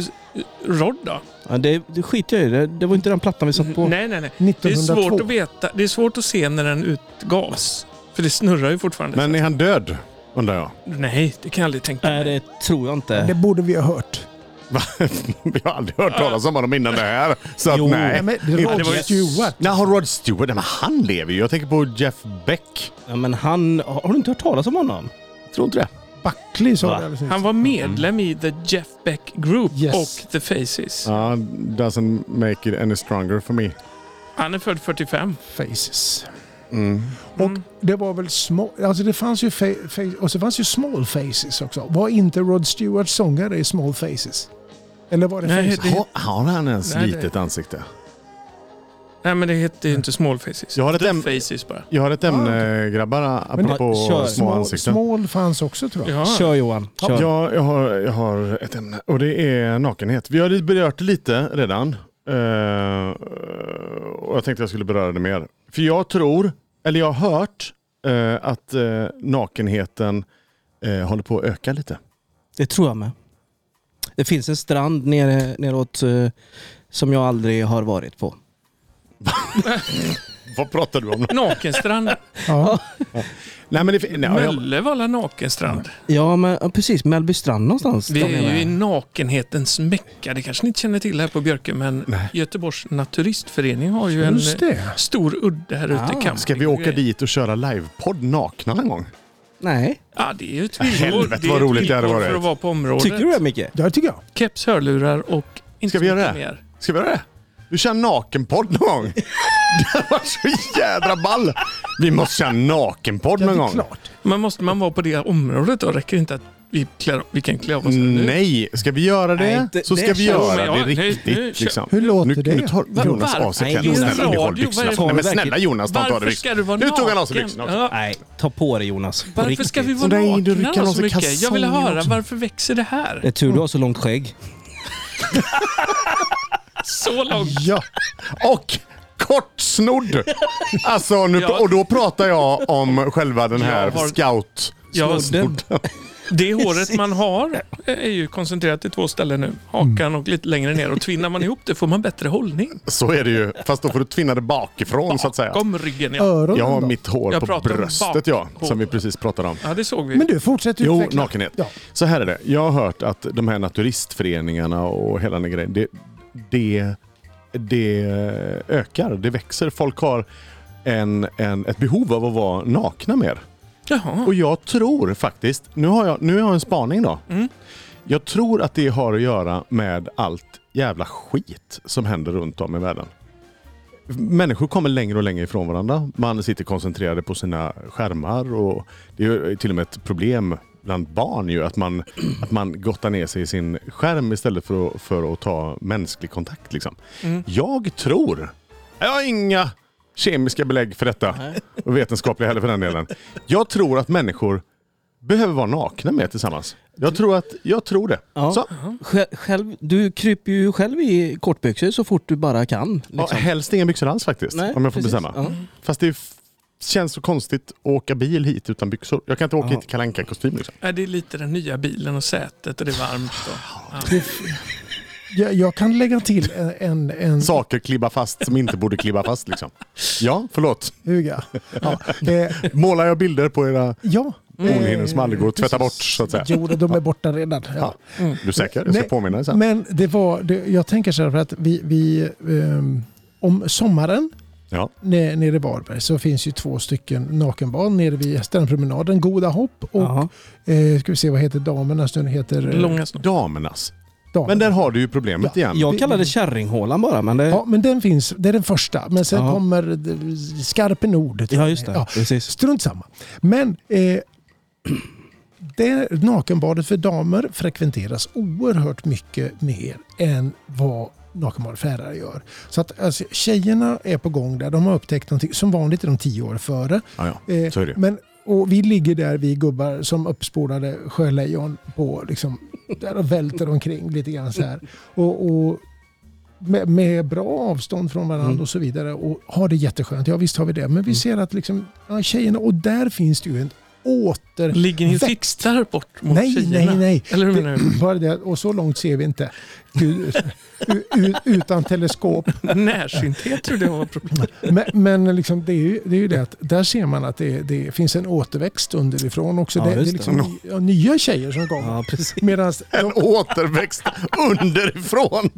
Rod då? ja det, det skiter jag i. Det, det var inte den plattan vi satt på. Nej, nej, nej. Det är 1902. svårt att veta. Det är svårt att se när den utgavs. För det snurrar ju fortfarande. Men är han död? Undrar jag. Nej, det kan jag aldrig tänka Nej, mig. det tror jag inte. Det borde vi ha hört. Va? (laughs) Vi har aldrig hört talas om honom innan det här. Så att, Jo. nej. men det inte- var det var ju- Stewart. Nej, har Rod Stewart? Nej, men han lever ju. Jag tänker på Jeff Beck. Ja, men han... Har du inte hört talas om honom? Tror inte det. Buckley Va? sa det alldeles nyss. Han var medlem i The Jeff Beck Group Yes. och The Faces. Ja, doesn't make it any stronger for me. Han är född 45. Faces. Mm. Mm. Det var väl små... Alltså det fanns ju... Fa- fa- och så fanns ju Small Faces också. Var inte Rod Stewart sångare i Small Faces? Eller var det Nej, Faces? det- Har, har han ens Nej, det- litet ansikte? Nej, men det hette ju inte Small Faces. Jag har ett The äm- Faces bara. Jag har ett ämne, Ah, grabbar, apropå Men- små Kör. Small, ansikten. small fanns också tror jag. Ja. Kör Johan. Kör. Ja, jag har, jag har ett ämne och det är nakenhet. Vi har berört det lite redan. Eh, och jag tänkte jag skulle beröra det mer. För jag tror, eller jag har hört, eh, att eh, nakenheten eh, håller på att öka lite. Det tror jag med. Det finns en strand nere, neråt eh, som jag aldrig har varit på. Vad pratar du om? Nakenstrand. Ja. nej, men det, fin- nej, jag, Möllevalla nakenstrand. Ja, men ja, precis. Mjällbystrand någonstans. Vi där nere. är ju i nakenhetens mecka. Det kanske ni inte känner till här på Björke, men Göteborgs naturistförening har ju en Just det. eh, stor udde här ute i Ah, camping. ska vi åka dit och köra livepodd nakna någon gång? Nej. Ja, det är ju ett villkor. Helvete, Det är vad ett roligt det hade villkor varit. för att vara på området. Tycker du det Micke? Det tycker jag. Keps, hörlurar och inte Ska vi så göra mycket det? mer. Ska vi göra det? Du kör nakenpodd någon (laughs) gång? Det var så jädra ball! Vi måste köra nakenpodd Ja, någon det gång. är klart. Men måste man vara på det området då? Räcker det inte att vi, klär, vi kan klä av oss nu? Nej, ska vi göra det Nej, inte- så det ska vi känns- göra Ja, men det ja, nu- riktigt. nu kör- liksom. Hur låter nu, det? Nu tar Va- Jonas var- av sig Nej, kläderna. Jonas, Snälla, nu håll radio, vad är byxorna. det- Nej, men Verkligen. snälla Jonas, ta inte av Varför dig ska du byxorna. vara Nu tog han av sig naken? byxorna också. Ja. Nej, ta på dig Jonas. På Varför riktigt. ska vi vara Nej, du nakna rycker då av så sig mycket? Jag vill kalsongen höra, också. varför växer det Det är här? tur du har så långt skägg. (laughs) Så långt. Ja. Och (laughs) kortsnodd! Alltså, nu, Ja. och då pratar jag om själva den här Jag har- scout... Ja, Snodden. det håret man har är ju koncentrerat till två ställen nu. Hakan och lite längre ner. Och tvinnar man ihop det får man bättre hållning. (laughs) Så är det ju. Fast då får du tvinna det bakifrån så att säga. Kom ryggen, ja. Öronen Jag har då? mitt hår Jag på pratar om bröstet ja, bakhår. som vi precis pratade om. Ja, det såg vi. Men du, fortsätt Eh, Jo, utveckla. nakenhet. Ja. Så här är det. Jag har hört att de här naturistföreningarna och hela den grejen, det, det, det ökar, det växer. Folk har en, en, ett behov av att vara nakna mer. Jaha. Och jag tror faktiskt, nu har jag, nu har jag en spaning då. Mm. Jag tror att det har att göra med allt jävla skit som händer runt om i världen. Människor kommer längre och längre ifrån varandra. Man sitter koncentrerade på sina skärmar och det är ju till och med ett problem bland barn ju att man, att man gottar ner sig i sin skärm istället för att, för att ta mänsklig kontakt. Liksom. Jag tror, jag har inga kemiska belägg för detta och vetenskapliga heller för den delen. Jag tror att människor behöver vara nakna med tillsammans. Jag tror, att, jag tror det. Ja. Så, Själv, själv, du kryper ju själv i kortbyxor så fort du bara kan. ja, Liksom. helst inga byxor alls faktiskt, Nej, om jag får precis. bestämma. Ja. Fast det f- känns så konstigt att åka bil hit utan byxor. Jag kan inte åka Ja. hit i Kalle Anka-kostym. Liksom. Ja, det är lite den nya bilen och sätet och det är varmt. Och, ja. Jag, jag kan lägga till en, en, en Saker klibbar fast som inte borde klibba fast. Liksom. Ja, förlåt. huga. (laughs) Ja, eh, Målar jag bilder på era ja. eh, hornhinnor som aldrig går att tvätta bort? precis. Så att säga. Mm. Jo, de är borta redan. Ja. Du är säker? Jag ska Nej, påminna dig sen. Men det var, det, jag tänker så här för att vi, vi ehm, om sommaren Ja. ne- nere i Varberg så finns ju två stycken nakenbad nere vid Strandpromenaden, Goda Hopp och Jaha. eh, ska vi se vad heter damernas nu, heter eh, Långa snopp. Damernas. damerna. Men där har du ju problemet igen. Jag kallar det kärringhålan bara, men det... Ja, men den finns. Det är den första. Men sen Ja. kommer d- Skarpen Ord. Ja, just det. Precis. strunt samma. Men eh, (clears throat) det nakenbadet för damer frekventeras oerhört mycket mer än vad nakenbadet för herrar gör. Så att alltså, tjejerna är på gång där. De har upptäckt någonting. Som vanligt är de tio år före. Ja, ja. Eh, Så är det ju. Men, och vi ligger där, vi gubbar, som uppspolade sjölejon på, liksom, där och välter omkring lite grann så här. Och, och med, med bra avstånd från varandra Mm. och så vidare och har det jätteskönt. Ja visst har vi det. Men vi ser att liksom, ja, tjejerna, och där finns det ju en åter... Ligger ni och Växt. tittar bort mot Nej, tjejerna? nej, nej. Eller hur menar Det, du? bara det, och så långt ser vi inte. Gud, u- u- Utan teleskop. Närsynthet trodde jag var problemet. Men, men liksom, det, är ju, det är ju det att där ser man att det, det finns en återväxt underifrån också. Ja, det, det är just det. liksom ny- ja, nya tjejer som kommer. Ja, precis. Medan (laughs) En återväxt (laughs) underifrån.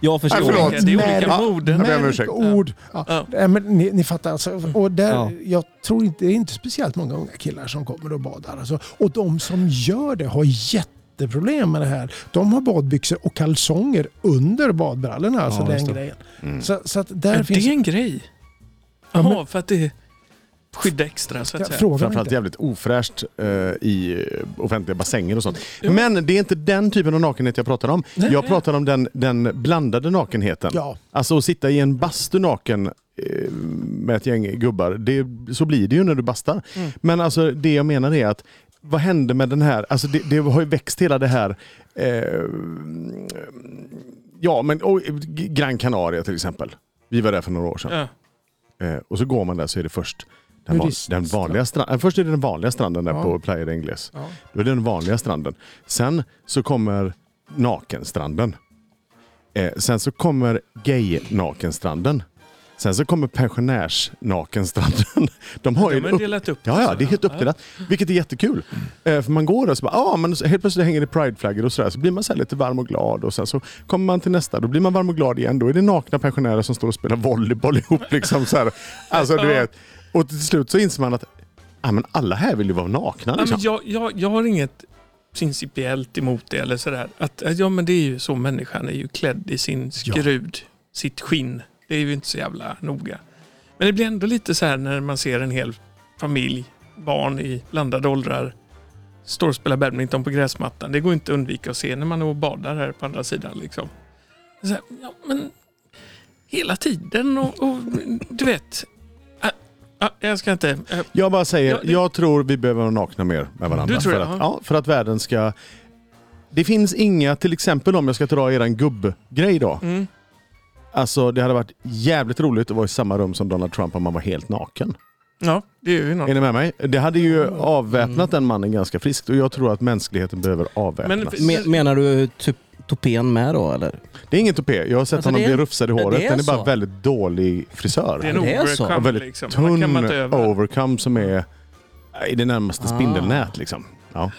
Jag förstår. Nej, förlåt. Det är olika Nej. moden. ber om märk ursäkt. ord. Ja. Ja. Nej, men ni, ni fattar alltså. Och där, Ja. Jag tror inte, det är inte speciellt många unga killar som kommer och badar. Alltså. Och de som gör det har jätteproblem med det här. De har badbyxor och kalsonger under badbrallorna. Alltså Ja, den just det. Mm. grejen. Så, så att Ja, där Det finns... är en grej. Ja, men- Jaha, för att det skyddar extra så att säga. Fråga mig Framförallt inte. jävligt ofräscht eh, i eh, offentliga bassänger och sånt. Men det är inte den typen av nakenhet jag pratar om. Nej. Jag pratar om den, den blandade nakenheten. Ja. Alltså att sitta i en bastu naken eh, med ett gäng gubbar, det, så blir det ju när du bastar. Men alltså det jag menar är att vad hände med den här, alltså det, det har ju växt hela det här eh, Ja, men och, G- Gran Canaria till exempel. Vi var där för några år sedan. Ja. Eh, och så går man där så är det först den, van, Nudist- den vanliga stranden. Först är det den vanliga stranden där Ja. på Playa de Ingles. Ja. Då är det den vanliga stranden. Sen så kommer nakenstranden. Eh, sen så kommer gay-nakenstranden. Sen så kommer pensionärs-nakenstranden. (laughs) De har ju De en har ju upp... delat upp Ja, ja, det är helt sådär. uppdelat. Vilket är jättekul. Eh, för man går där så bara, ah, men så helt plötsligt hänger det prideflaggor och sådär. Så blir man så här lite varm och glad och sen så kommer man till nästa. Då blir man varm och glad igen. Då är det nakna pensionärer som står och spelar volleyboll (laughs) ihop. Liksom, så här. Alltså du vet. Och till slut så inser man att ah, men alla här vill ju vara nakna. Ja, men Liksom. jag, jag, jag har inget principiellt emot det eller sådär. Att, att, ja, men det är ju så människan är ju klädd i sin skrud, sitt skinn. Det är ju inte så jävla noga. Men det blir ändå lite så här när man ser en hel familj, barn i blandade åldrar, står och spelar badminton på gräsmattan. Det går inte att undvika att se när man är och badar här på andra sidan. Liksom. Så här, ja, men hela tiden och, och du vet. Ah, ah, jag ska inte... eh, Jag bara säger, Ja, det- jag tror vi behöver vara nakna mer med varandra. Du tror för, det, att, ja. ja, för att världen ska... Det finns inga, till exempel om jag ska dra er en gubbgrej då. Mm. Alltså det hade varit jävligt roligt att vara i samma rum som Donald Trump om man var helt naken. Ja, det är ju något. Är ni med mig? Det hade ju Mm. avväpnat den mannen ganska friskt och jag tror att mänskligheten behöver avväpnas. Men- Men- Menar du typ topén med då eller? Det är ingen tupé, jag har sett Alltså, honom det bli är- rufsad i det håret. är den är bara så. väldigt dålig frisör. Det är en Det är så. overcome. väldigt liksom. Den kan man tunn inte över. overcome som är i det närmaste Ah. spindelnät liksom. Ja.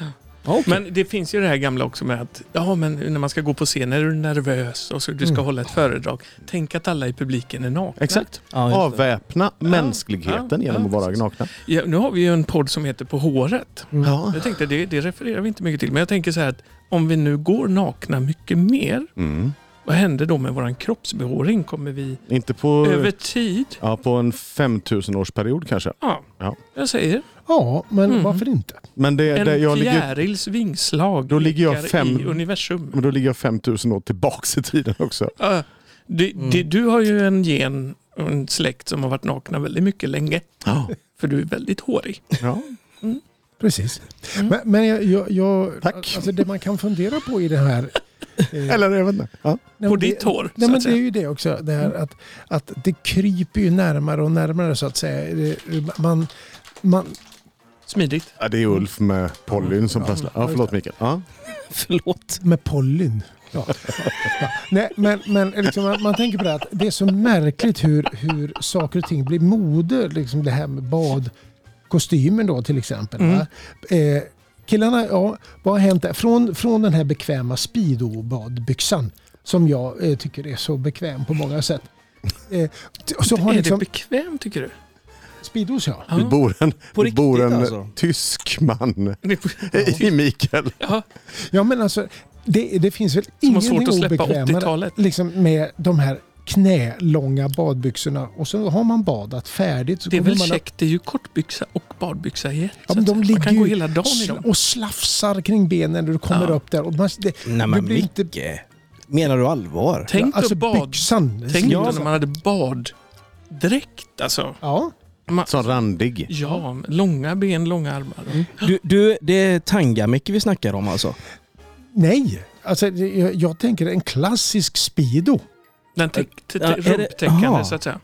Okay. Men det finns ju det här gamla också med att ja, men när man ska gå på scen är du nervös och så du ska hålla ett föredrag. Tänk att alla i publiken är nakna. Mm. Exakt. ja, just det. Avväpna mänskligheten ja, genom att ja, vara precis. nakna. Ja, nu har vi ju en podd som heter På håret. Mm. Ja. Jag tänkte det, det refererar vi inte mycket till, men jag tänker så här att om vi nu går nakna mycket mer, Mm. vad händer då med våran kroppsbehåring? Kommer vi Inte på, över tid? ja, på en 5000-årsperiod kanske. Ja, Ja. jag säger Ja, men Mm. varför inte? Men det, en det, jag ligger, fjärils vingslag Då ligger jag ekar fem- i universum. men då ligger jag 5000 år tillbaks i tiden också. Ja, Ah, det, Mm. det, du har ju en gen och en släkt som har varit nakna väldigt mycket länge. Ja. För du är väldigt hårig. Ja. Precis. Mm. Men, men jag, jag, jag, Tack. Alltså, det man kan fundera på i det här... eh, Eller jag vet inte. Ja. nej, på men det- ditt hår. Nej, så men att det är säga. Mm. ju det också, det här att, att det kryper ju närmare och närmare så att säga. Det- Man, man, Smidigt. Ja, det är Ulf med pollyn som Ja. prasslar. Ja, förlåt Mikael. Ja. Förlåt. med pollen. (laughs) Ja. Ja. Nej, men men liksom, man, man tänker på det här att det är så märkligt hur, hur saker och ting blir mode. Liksom det här med badkostymen då till exempel. Mm. va? Eh, killarna, ja, vad har hänt där? Från, från den här bekväma Speedo-badbyxan som jag eh, tycker är så bekväm på många sätt. Eh, t- så har är liksom, det bekvämt tycker du? Speedos ja. Ja. Det bor en, På det bor riktigt, en alltså? tysk man Det (laughs) är- (laughs) i Mikael. Ja, Ja men alltså, det, det finns väl som har ingenting svårt att släppa obekvämare 80-talet. liksom med de här knälånga badbyxorna och så har man badat färdigt. Så Det är kommer väl man käckt, det är ju kortbyxa och badbyxa i ett. så Ja, men att de säga. ligger Man kan gå ju hela dagen i sl- dem. och slafsar kring benen när du kommer Ja. upp där. Och man, det, Nej det men blir inte, Micke. Menar du allvar? Tänk alltså då bad... byxan. Tänk Ja, då när man hade baddräkt. Alltså. ja. Man... Som randig. Ja, men långa Mm. ben, långa armar. Du, du, det är tanga Micke vi snackar om alltså? Nej, Alltså, det- jag, jag tänker en klassisk Speedo. Den täck- t- Ja, t- är det- rumptäckande Aha. så att säga.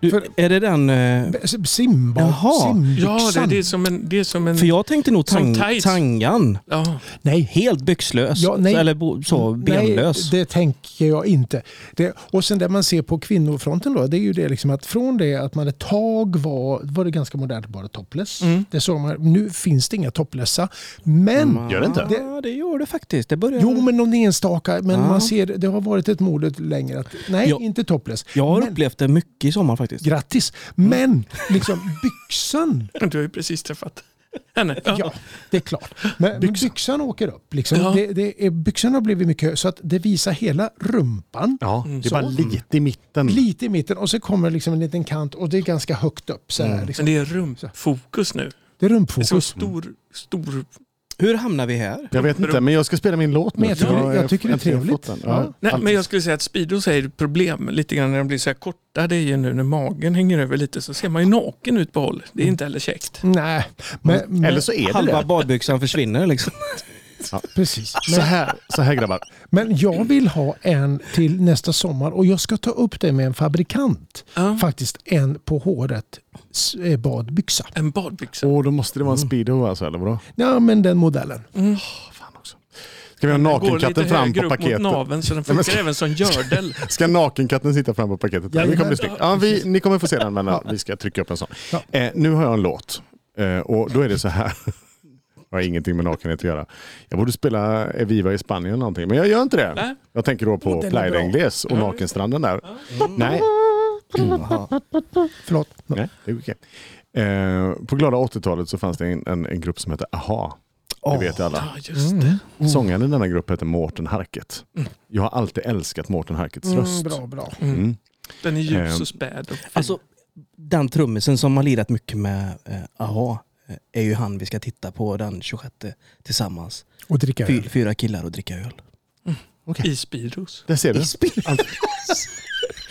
Du, För- är det den... eh, B- Simba, Jaha. Ja, det, simbyxan. det är som en... Det är som en För jag tänkte nog Som tang, tights. tangan. ja. Nej, Helt byxlös. Ja, nej. Eller bo, så, benlös. Mm. Nej, det tänker jag inte. Det, och sen det man ser på kvinnofronten då, det är ju det liksom att från det att man ett tag var, var det ganska modernt att vara topless. Mm. Det såg man, nu finns det inga toplessa. Men, Gör det inte? Ja, det gör det faktiskt. Det börjar... jo men någon enstaka, men Ja. man ser, det har varit ett mode längre att nej, Ja. inte topless. jag har men, upplevt det mycket i sommar faktiskt. Grattis! Men liksom byxan, Du har ju precis träffat henne. Ja. ja det är klart. Men byxan, men byxan åker upp. Liksom. Ja. Det, det är, byxan har blivit mycket hö- så att det visar hela rumpan. Ja, det är bara Så. lite i mitten. Lite i mitten och så kommer liksom en liten kant och det är ganska högt upp. Så här, liksom. Men det är rumpfokus nu. Det Det är är så rumpfokus. stor, stor... Hur hamnar vi här? Jag vet inte, men jag ska spela min låt nu. Men jag tycker- för jag tycker det är äntligen trevligt. fått den. Ja. Ja. Nej, men jag skulle säga att Speedos är ett problem lite grann när de blir så här korta. Det är ju nu när magen hänger över lite så ser man ju naken ut på håll. Mm. Det är inte heller käckt. Nej, men, men, Eller så är det Halva det. badbyxan försvinner liksom. precis. Så här, så här grabbar. Men jag vill ha en till nästa sommar och jag ska ta upp det med en fabrikant. Ja. Faktiskt en på håret s- eh, badbyxa. En badbyxa. Åh, då måste det vara en Mm. speedo alltså, eller vadå? Ja, men den modellen. Fan också. Ska vi ha nakenkatten fram högre på upp paketet? mot naveln så den Nej, men funkar även som (laughs) gördel. Ska nakenkatten sitta fram på paketet? Ja, Jajamän. vi kommer bli snyggt. ja, vi, ni kommer få se den, men ja, vi ska trycka upp en sån. Eh, nu har jag en låt eh, och då är det så här. (laughs) Jag har ingenting med nakenhet att göra. Jag borde spela Eviva i Spanien eller någonting, men jag gör inte det. Nej. Jag tänker då på är Playa de bra. Ingles och nakenstranden där. Mm. Nej, Förlåt. nej, det är okej. Eh, på glada 80-talet så fanns det en, en, en grupp som hette Aha. Det vet alla. Ja, Ah, just Mm, det. Sångaren i denna grupp heter Mårten Harket. Jag har alltid älskat Mårten Harkets röst. Bra, bra. Mm. Den är ljus Ehm. och späd. Och fin. (laughs) Alltså, den trummisen som har lirat mycket med eh, AHA eh, är ju han vi ska titta på den 26 tillsammans. Och dricka Fy, öl. fyra killar och dricka öl. I Speedos. Där ser du. Allt-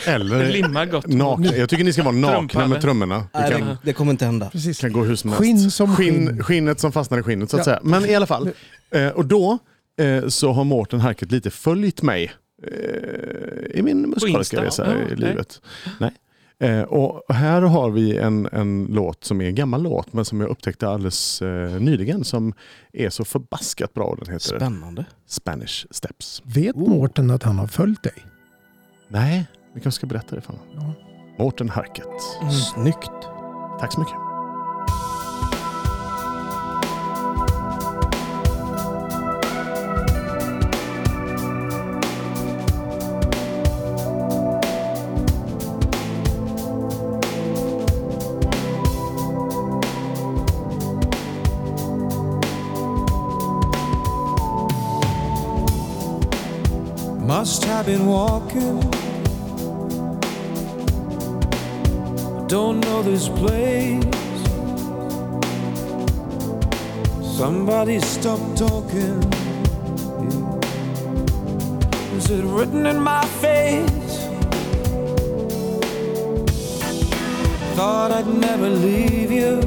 Det Eller limmar gott. nakna. Jag tycker ni ska vara nakna Trumpade. med trummorna. (laughs) Nej, Det kan, det, det kommer inte hända. Precis. kan gå hur som helst. Skinn som skinn. Skinnet som fastnar i skinnet så att säga. Ja. Men i alla fall. Eh, och då eh, så har Mårten Harket lite följt mig eh, i min musikaliska Insta? resa Ja, i nej. livet. Nej. Eh, och här har vi en, en låt som är en gammal låt men som jag upptäckte alldeles eh, nyligen som är så förbaskat bra. Den heter Spännande. Spanish Steps. Vet Mårten att han har följt dig? Nej, vi kanske ska berätta det för honom. Ja. Mårten Harket. Snyggt. Tack så mycket. Must have been walking. Don't know this place. Somebody stop talking. Is it written in my face? Thought I'd never leave you.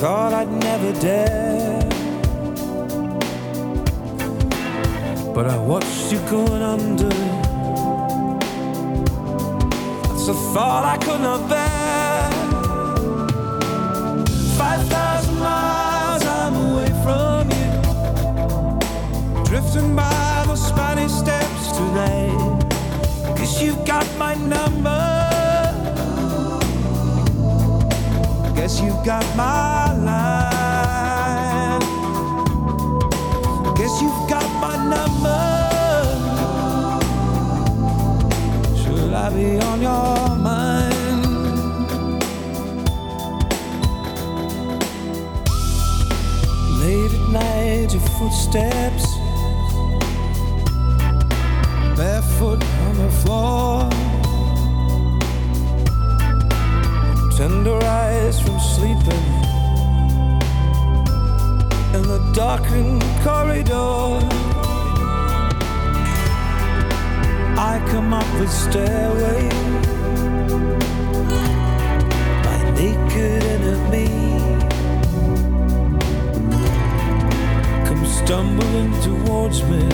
Thought I'd never dare. But I watched you going under. That's a thought I could not bear. Five thousand miles I'm away from you. Drifting by the Spanish steps tonight. Guess you've got my number. Guess you've got my line. Guess you've got my number. Should I be on your mind? Late at night, your footsteps barefoot on the floor. Tender eyes from sleeping in the darkened corridor. I come up the stairway, my naked enemy comes stumbling towards me.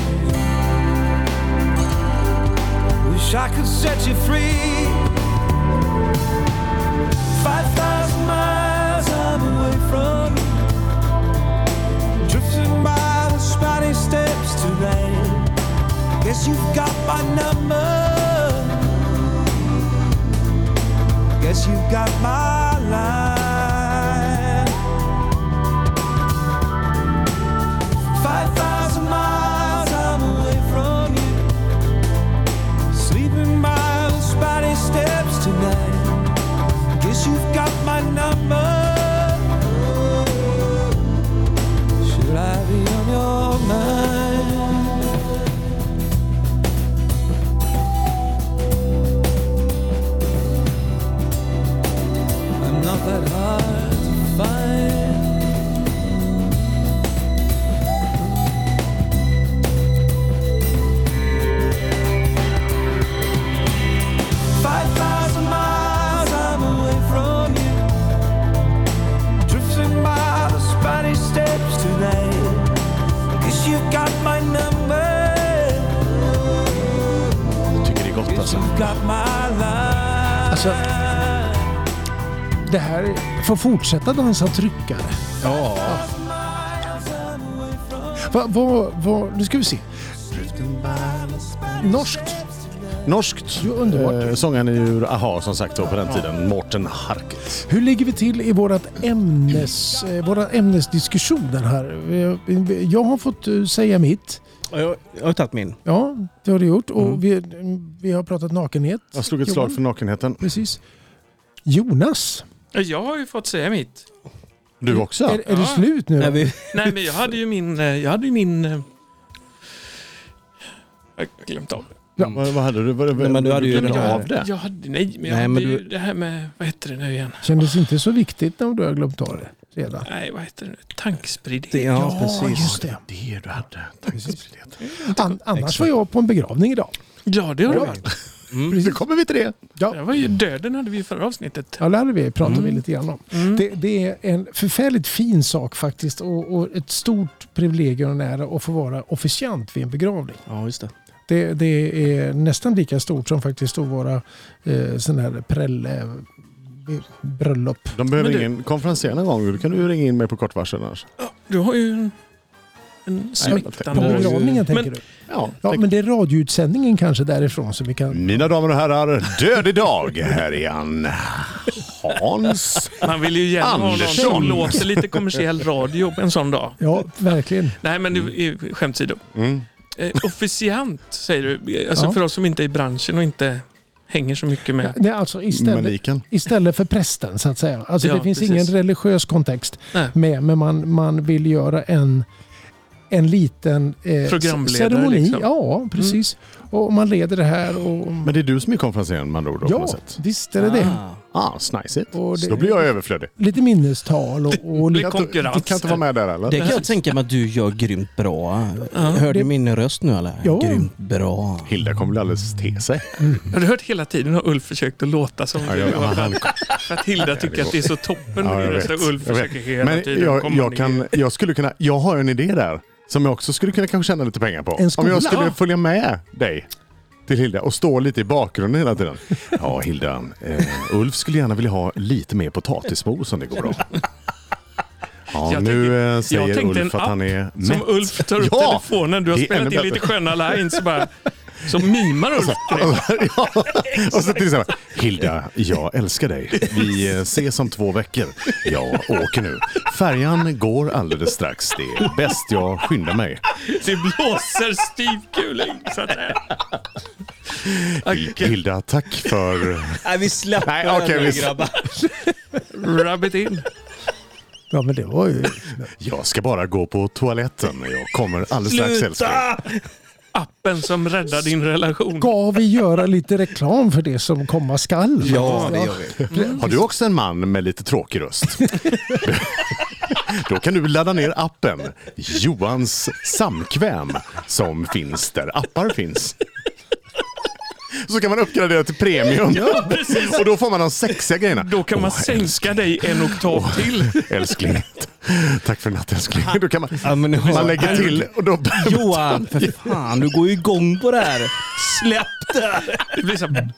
Wish I could set you free. Five thousand miles I'm away from you, drifting by the spiny steps tonight. Guess you've got my number. Guess you've got my line. 5,000 miles I'm away from you. Sleeping by the spiny steps tonight. Guess you've got my number. Should I be on your mind? I'm not that hard to find. Five thousand miles I'm away from you, drifting by the spiny steps tonight. Guess you've got my number. Jag tycker det är gott Guess alltså. you've got my line. Alltså- Det här får fortsätta dansa tryckare. Miles I'm away from Va, va, va, nu ska vi se. Norskt. Norskt. Jo, underbart. Eh, sången är ur Aha som sagt då på den tiden. Morten Harket. Hur ligger vi till i vårat ämnes, eh, våra ämnesdiskussioner här? Eh, Jag har fått eh, säga mitt. Jag, jag har tagit min. Ja, det har du gjort. Och Mm. vi, vi har pratat nakenhet. Jag slog ett slag för nakenheten. Precis. Jonas, Jag har ju fått säga mitt. Du också? är, är det Ja. slut nu? Är vi, Nej, men jag hade ju min... eh, Jag hade ju min... eh, Jag har glömt av det. Vad, vad hade du? Vad, Nej, men du hade ju glömde det här. av det. Jag hade, nej, men jag Nej, hade men ju du- det här med... Vad heter det nu igen? Kändes inte så viktigt om du har glömt ta det redan. Nej, vad heter det nu? Tankspridd. ja, precis. just det. Det du hade. An, annars Exakt. var jag på en begravning idag. Ja, det har det varit. Nu kommer vi till det. Det var ju döden hade vi i förra avsnittet. Ja, det hade vi pratat Mm. vi lite grann om. Det, det är en förfärligt fin sak faktiskt och, och ett stort privilegium och en ära att få vara officiant vid en begravning. Ja, just det. Det, det är nästan lika stort som faktiskt att vara eh, sån här prälle, eh, bröllop. De behöver Men du- ingen konferenser någon gång. Då kan du ju ringa in mig på kort varsel annars. Ja, du har ju en, en På smäktande men- röst. begravningen tänker Men- du? Ja, Ja, tänk- men det är radioutsändningen kanske därifrån som vi kan... Mina damer och herrar, död idag. Här är han. Hans. Man vill ju gärna ha någon som Andersson. låter lite kommersiell radio på en sån dag. Ja, verkligen. Nej, men nu, skämt åsido. Mm. Eh, officiant, säger du. Alltså Ja. för oss som inte är i branschen och inte hänger så mycket med. Nej, alltså istället, Maniken. istället för prästen så att säga. Alltså, Ja, det finns precis. ingen religiös kontext Nej. med, men man, man vill göra en, en liten eh, Programledare, ceremoni. liksom. Ja, precis. Och man leder det här. Och, Men det är du som är konferencieren med andra ord? då, på något ja, sätt. visst är det det. Ah. Ah, snajsigt. Och Så det- då blir jag överflödig. Lite minnestal och, och blir lite, Det är Kan inte- konkurrens. Du kan inte vara med där eller? Det kan jag tänka mig att du gör grymt bra. Hörde Det- du min röst nu eller? Ja. Grymt bra. Hilda kommer bli alldeles te (laughs) sig. Har du hört hela tiden har Ulf försökt att låta som Ja, jag- han- För att Hilda tycker att det är så toppen Ja, med jag din röst vet. och Ulf Jag vet. försöker hela Men tiden jag, komma jag, ner. kan, jag, skulle kunna, jag har en idé där som jag också skulle kunna kanske tjäna lite pengar på. En Om skola? jag skulle följa med dig till Hilda och stå lite i bakgrunden hela tiden. (laughs) Ja, Hilda. Eh, Ulf skulle gärna vilja ha lite mer potatismos om (laughs) det går bra. Ja, Jag nu tänkte- eh, jag säger tänkte en Ulf att han är mätt. Som Ulf tar upp Ja, telefonen, du har det är spelat ännu in lite bättre. sköna lines bara. Så mimar Ulf till dig. Alltså, ja. (laughs) Och så till exempel, Hilda, jag älskar dig. Vi eh, ses om två veckor. Jag åker nu. Färjan går alldeles strax. Det är bäst jag skyndar mig. Det blåser styvkuling så att säga. Okej, Hilda, tack för... Nej, vi släpper Nej, den okej, nu, vi- grabbar. Rub it in. ja, men det var ju... Jag ska bara gå på toaletten. Jag kommer alldeles strax, älskling. Appen som räddar din relation. Ska vi göra lite reklam för det som komma skall? Ja, det gör vi. Har du också en man med lite (laughs) tråkig röst? Då kan du ladda ner appen Johans samkväm som finns där appar finns. Så kan man uppgradera till premium. Precis. Och då får man de sexiga grejerna. Då kan man Åh, sänka dig en oktav Åh, till. Älskling. Tack för natten älskling. Då kan man, Ja, men nu har- man lägger till och då... Johan, för fan, du går ju igång på det här. Släpp det! Det blir så här,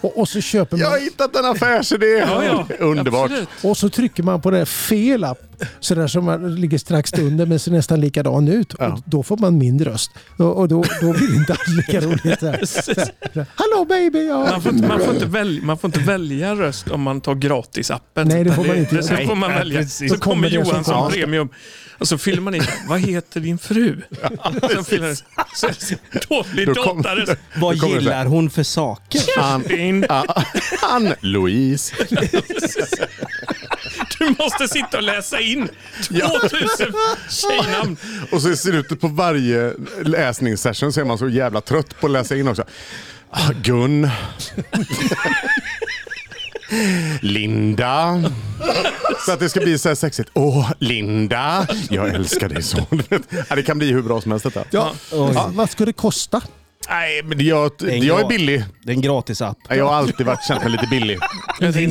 Och, och så köper Jag har man hittat en affärsidé. ja, ja. Underbart. Absolut. och så trycker man på den här fel app. Så där som man ligger strax under men ser nästan likadan ut. Ja. Och då får man min röst. Och, och då, då blir det inte alls lika roligt. Så här. Så här, Hallå baby! Ja. Man får, inte, man, får inte välja, man får inte välja röst om man tar gratisappen. Nej, det får man inte Det, så göra. får man Nej, välja. precis. Så Då kommer kommer det som Johan som konstant. premium. Och så fyller man in. Vad heter din fru? Sen fyller den- så, så, dålig Då kom- dotare. Vad Då kommer det så här. Ah, gillar hon för saker? Ann, In. Ann Louise. Du måste sitta och läsa in 2000 Ja. tjejnamn. Och så i slutet på varje läsningssession så är man så jävla trött på att läsa in också. Ah, Gun. Linda. Så att det ska bli så här sexigt. Åh, Linda. Jag älskar dig så. Ja, det kan bli hur bra som helst detta. Ja. Ja, vad ska det kosta? Nej, men jag, jag är billig. Det är en gratis app. Nej, Jag har alltid varit, känt mig lite billig. Nej,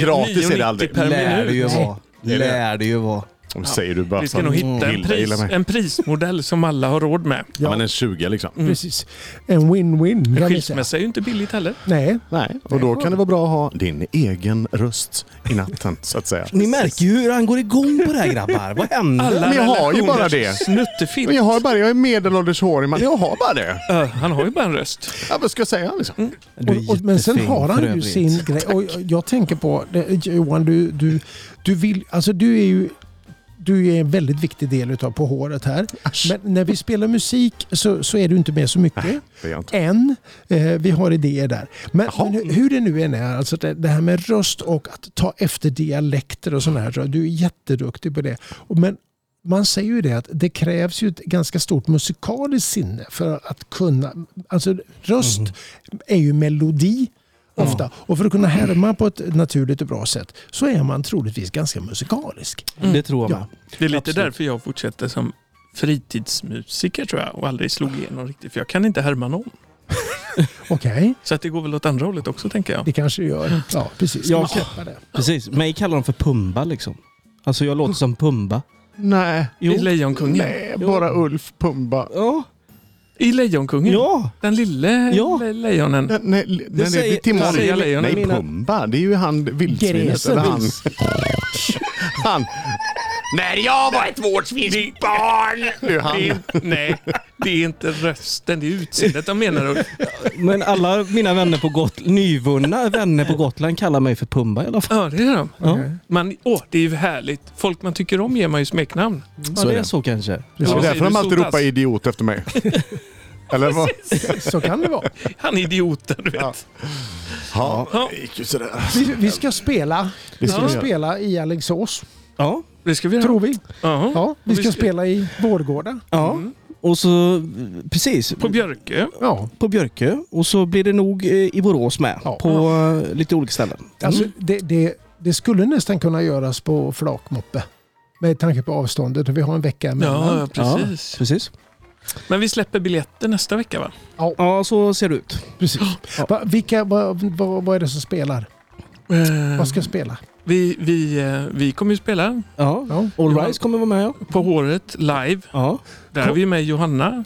gratis är det aldrig. 9,90 per Lär det ju minut. vara. är det. Lär det ju vara. Om säger du bara Vi ska nog hitta en, Gilda pris, gillar mig. en prismodell som alla har råd med. Ja, men en 20 liksom. Mm. Precis. En win-win. kan vi säga. Skilsmässa är ju inte billigt heller. Nej, Nej, och då kan det vara bra att ha din egen röst i natten så att säga. Ni märker ju hur han går igång på det här grabbar. Vad händer? Alla Men jag har ju relationer bara det. Snuttefint. Men jag har bara, jag är medelålders hårig man. Jag har bara (laughs) det. Ö, han har ju bara en röst. Ja, vad ska jag säga liksom? Du är Och, och, men sen jättefin har för han ju övrigt. sin grej. Och jag- jag tänker på det, Johan, du, du, du, vill, alltså du är ju du är en väldigt viktig del utav På håret här. Asch. Men när vi spelar musik så, så är du inte med så mycket. Det är jag inte. Än. Eh, vi har idéer där. Men, Jaha. men hur- hur det nu än är, alltså det, det här med röst och att ta efter dialekter och sådana här. så Du är jätteduktig på det. Och Men man säger ju det att det krävs ju ett ganska stort musikaliskt sinne för att kunna... Alltså röst är ju melodi ofta. Och för att kunna härma på ett naturligt och bra sätt så är man troligtvis ganska musikalisk. Det tror jag Ja. med. Det är lite Absolut. därför jag fortsätter som fritidsmusiker tror jag och aldrig slog igenom riktigt för jag kan inte härma någon. Okej, Så att det går väl åt andra hållet också tänker jag. det kanske gör. Ja, precis. Ska Ja. vi släppa det? Precis. Mig kallar de för Pumba liksom. Alltså jag låter som Pumba. Nej, I Lejonkungen. nej, bara Ulf Pumba. Ja. I Lejonkungen. Ja. Den lille Ja. le lejonen. Nej, nej, nej, det säger- är Timon. det säger nej, lejonen. Pumba. Det är ju han vildsvinet. Grisen. Eller (laughs) han. han. När jag var ett vårdsvinskt barn. Du, han. Det är, nej, det är inte rösten, det är utseendet de menar. Ulf. Men alla mina vänner på Gotland, nyvunna vänner på Gotland kallar mig för Pumba i alla fall. (laughs) Ja, det är de. Ja, Man, åh, det är ju härligt. Folk man tycker om ger man ju smeknamn. ja det är så kanske. Det är Ja, därför de du alltid sotas. ropar idiot efter (laughs) mig. Eller vad? Så kan det vara. Han är idioten, du vet. Ja. Ja, det gick ju sådär. Vi, vi ska spela. Vi ska Ja. spela i Alingsås, Ja. Det ska vi göra. tror vi. Jaha. Ja, vi Och vi ska ska- spela i Vårgårda. ja. Och så, precis. På Björkö. Ja. på Björkö och så blir det nog eh, i Borås med. Ja. På eh, lite olika ställen. Alltså, det, det, det skulle nästan kunna göras på flakmoppe. Med tanke på avståndet och vi har en vecka emellan. Ja, precis. Precis. Men vi släpper biljetter nästa vecka, va? Ja, så ser det ut. Precis. Va, vilka, vad va, vad är det som spelar? Vad ska spela? Vi, vi, eh, vi kommer ju spela Ja. Ja. All Ja. Rise kommer vara med. Ja, På håret live. ja Där är vi med Johanna.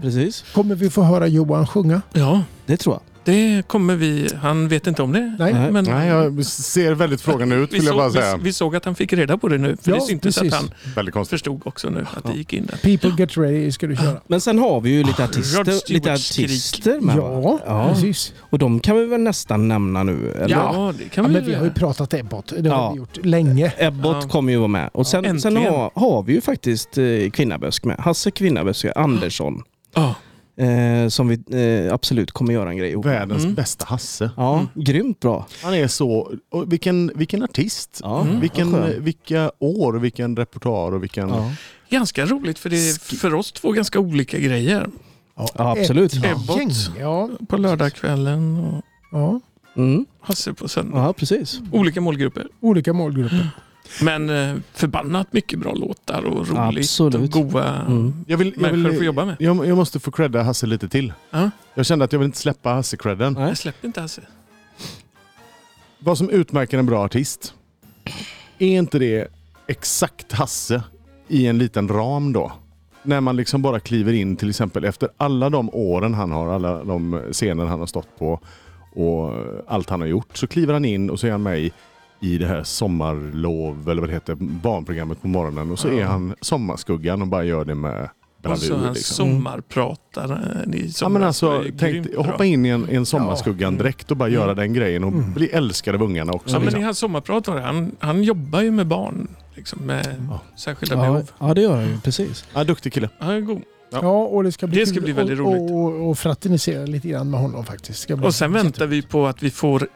precis. Kommer vi få höra Johan sjunga? Ja, Det tror jag. det kommer vi. Han vet inte om det. Nej. Nej. Men Nej, jag ser väldigt frågande ut vi, vill jag bara såg, säga. vi, vi såg att han fick reda på det nu. För Ja, det syntes precis. att han Väldigt konstigt. förstod också nu att det gick in där. People get ready ska du köra. Men sen har vi ju lite Rod artister, lite Stewarts skrik. artister med. va? Ja, precis. Och de kan vi väl nästan nämna nu? Eller? Ja, det kan Ja, vi men väl vi har ju göra. pratat Ebbot. Det Ja. har vi gjort länge. Ebbot Ja. kommer ju vara med. Och sen, sen Äntligen. har, har vi ju faktiskt eh, Kvinnabösk med. Hasse Kvinnabösk, Andersson. Ja, Eh, som vi eh, absolut kommer göra en grej ihop med. Världens bästa Hasse. Ja, Mm. grymt bra. Han är så... Och vilken, vilken artist. Ja, mm. Vilken, vilka år, vilken repertoar och vilken... Ja. ganska roligt för det är för oss två ganska olika grejer. Ja, absolut. Ett Ebbot. gäng. Ja, På lördagskvällen och ja. Mm. Hasse på söndag. Ja, precis. Olika målgrupper. Olika målgrupper. Men eh, förbannat mycket bra låtar och roligt Absolut. och goa Mm. Jag, vill, jag, människor att få vill, jobba med. jag, jag måste få credda Hasse lite till. Ja. Jag kände att jag vill inte släppa Hasse-credden. Nej. Jag släpper inte Hasse. Vad som utmärker en bra artist. Är inte det exakt Hasse i en liten ram då? När man liksom bara kliver in till exempel efter alla de åren han har, alla de scener han har stått på och allt han har gjort. Så kliver han in och så är han med i- i det här sommarlov eller vad det heter, barnprogrammet på morgonen. Och så är han sommarskuggan och bara gör det med Och så bravur. hans Liksom. sommarpratare. i Ja, men somras var alltså, ju tänk, grymt bra. Mm. hoppa in i en, i en sommarskuggan direkt och bara göra den grejen och bli älskad av ungarna också. Ja, men liksom. i hans sommarpratare, han, han jobbar ju med barn. Liksom, med Mm. särskilda Ja, behov. ja, det gör jag ju. Precis. ja, duktig kille. Han är god. Ja. Ja, och det ska bli, Det ska kul bli väldigt och, roligt. Och, och, och fraternisera lite grann med honom faktiskt. Ska bli Och Mm. sen väntar vi på att vi får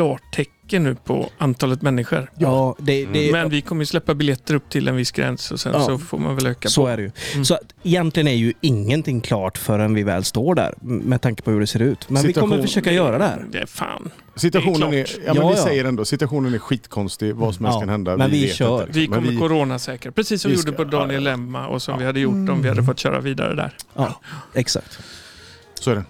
klartecken nu på antalet människor. Ja, det, det, Mm. Men vi kommer ju släppa biljetter upp till en viss gräns och sen Ja. så får man väl öka så på. är det ju. Mm. Så att, egentligen är ju ingenting klart förrän vi väl står där. Med tanke på hur det ser ut. Men vi Situation- kommer försöka göra det här. Det är fan. Situationen är, Det är ja, men Ja, vi ja. säger ändå, situationen är skitkonstig. Vad som helst Ja, kan hända. men vi vet kör. inte. Vi Men kommer vi- coronasäkra, precis som vi vi ska- gjorde på Daniel Lemma och som vi hade gjort om vi Mm. hade fått köra vidare där. Ja, exakt. Så är det.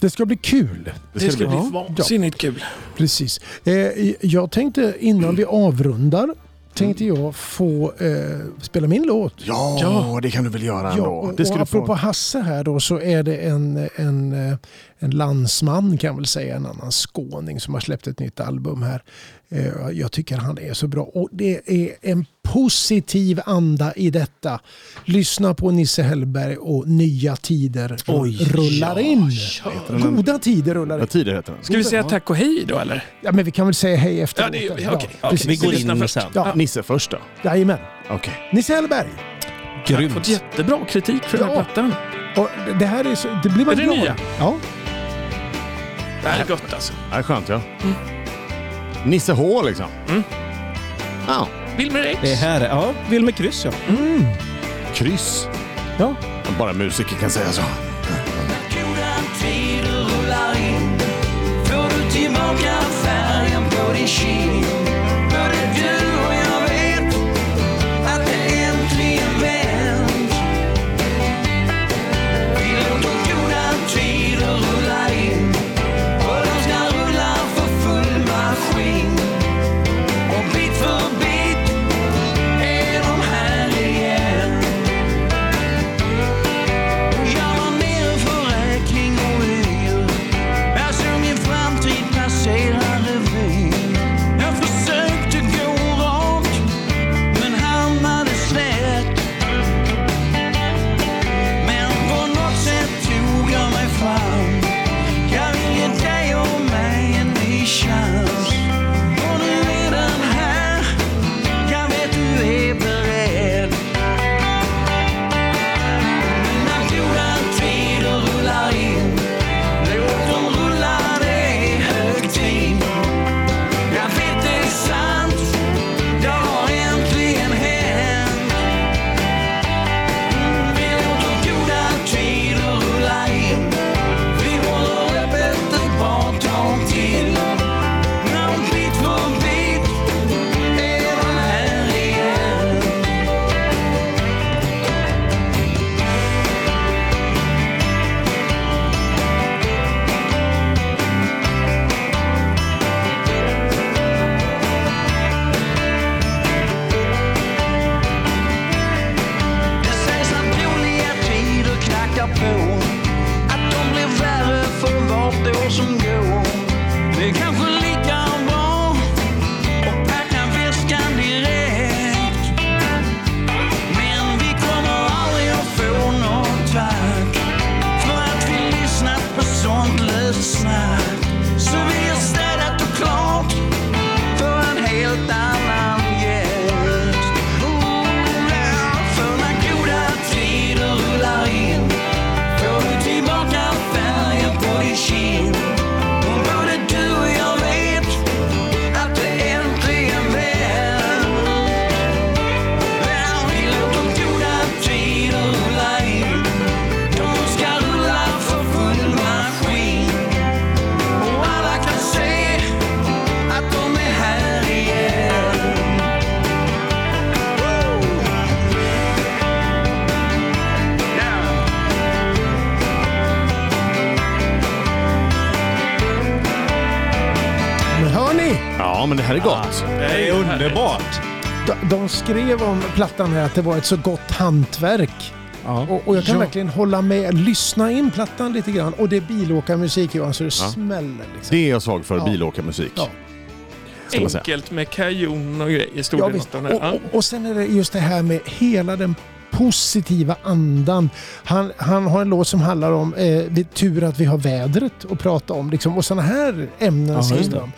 Det ska bli kul. Det ska det bli. bli vansinnigt kul. Precis. Eh, jag tänkte innan vi avrundar tänkte jag få eh, spela min låt. Ja, det kan du väl göra Ja, ändå. och, det ska och du apropå få. Hasse här då så är det en, en, eh, en landsman kan jag väl säga, en annan skåning som har släppt ett nytt album här. Eh, Jag tycker han är så bra och det är en positiv anda i detta. Lyssna på Nisse Hellberg och Nya Tider rullar in. Goda tider rullar Ja, in. tider heter den. Ska vi säga tack och hej då eller? Ja, men vi kan väl säga hej Ja, efteråt. det är, Ja, okej. precis. Vi går lyssnar in först. sen. Ja, Nisse först då. jajamän. Okej. Nisse Hellberg. Jag har fått jättebra kritik för den här Ja. plattan. Och det här är så, det blir man Är det glad. nya? Ja. Det här är gott alltså. Det här är skönt ja. Nisse H liksom. Ja. Wilmer X. Det här är... Ja, Wilmer Kryss ja. Kryss. Ja. Bara musiker kan säga så. Goda tider rullar in Får du tillbaka färgen på din kind Både du och jag vet att det äntligen vänt Vi låter goda tider rulla in och de ska rulla för full maskin Och bit för bit är de här igen jag var nere för räkning och öl. Jag såg min framtid passera revy. Jag försökte Ja, men det här är gott. Det är underbart. De- De skrev om plattan här att det var ett så gott hantverk. Och, och jag kan Ja. verkligen hålla med. Lyssna in plattan lite grann. Och det är bilåkarmusik Johan, så det Ja. smäller. Det Liksom. är jag svag för, Ja. bilåkarmusik. Ja. Ska man säga. Enkelt med kajon och grejer. Stod Ja, det visst. något om det? Och, Ja. och, och sen är det just det här med hela den positiva andan. Han, han har en låt som handlar om eh, vi tur att vi har vädret att prata om. Liksom, och sådana här ämnen Ja, skriver just det. de.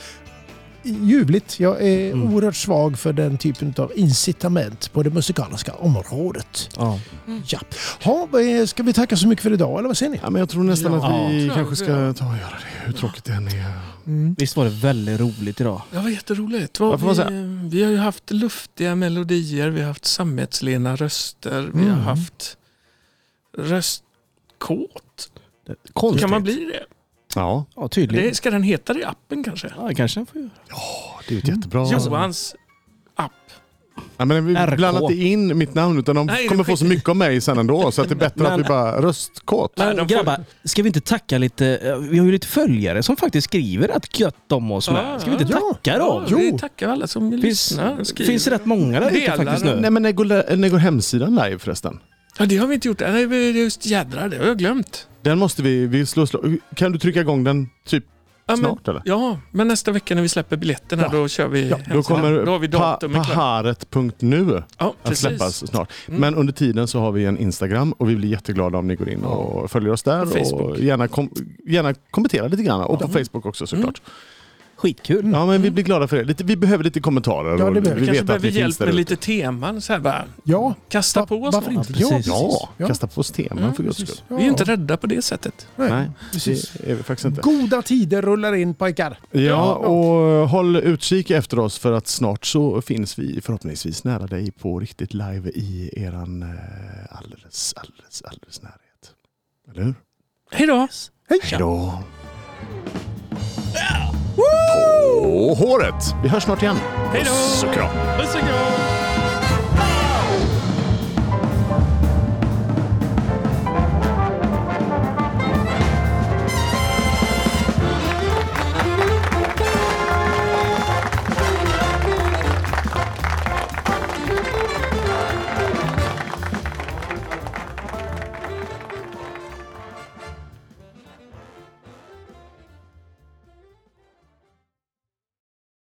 Ljuvligt. Jag är Mm. oerhört svag för den typen av incitament på det musikaliska området. Ja. Mm. Ja. Ha, eh, ska vi tacka så mycket för idag eller vad säger ni? Ja, men jag tror nästan Ja, att tror vi jag kanske ska det. ta och göra det. Hur tråkigt det än är. Visst var det väldigt roligt idag? Det var jätteroligt. Vad Vad får man vi, vi har ju haft luftiga melodier, vi har haft sammetslena röster, vi har Mm. haft röstkåt. Konstigt. Kan man bli det? Ja, Ja, tydligen. det? Ska den heta det i appen kanske? Ja, kanske den får göra. det är ju ett jättebra... Johans app. Ja, men vi RK. blandar inte in mitt namn utan de Nej, det kommer få skit- så mycket av mig sen ändå. Så att det är bättre Men- att vi bara röstkåt. Nej, Men de får- grabbar, ska vi inte tacka lite? eh, Vi har ju lite följare som faktiskt skriver att gött om oss med. Ska vi inte Ah, Ja, tacka dem? Ja, vi tackar alla som Finns, lyssnar. skriver. finns det rätt många där ute Delar faktiskt den. nu? Nej men när går, när går hemsidan live förresten? Ja, det har vi inte gjort. Nej, det är just jädrar, det har jag glömt. Den måste vi, vi slå, slå. Kan du trycka igång den typ Ja, men, snart eller? ja, men nästa vecka när vi släpper biljetterna, då kör vi Ja, då hemsidan. kommer Då har vi pa- datumet klart. paharet.nu Ja, att släppas precis. snart. Mm. Men under tiden så har vi en Instagram och vi blir jätteglada om ni går in och följer oss där. Och Facebook. Och gärna, kom, gärna kommentera lite grann. Och på Facebook också såklart. Skitkul. Ja men vi blir glada för det. Lite, vi behöver lite kommentarer. det och behöver vi Vi kanske vet att behöver vi finns hjälp där med ute. lite teman. Så här, bara, Ja, kasta Va- på oss varför något. inte? Ja, precis. Ja, Ja. kasta på oss teman Mm, för guds precis. skull. Vi är inte rädda på det sättet. Nej, precis. det är vi faktiskt inte. Goda tider rullar in pojkar. Ja, och håll utkik efter oss för att snart så finns vi förhoppningsvis nära dig på riktigt live i eran eh, alldeles, alldeles, alldeles närhet. Eller hur? Hej då! Hej då! På håret! Vi hörs snart igen. Hej då! Puss och kram! Puss och kram!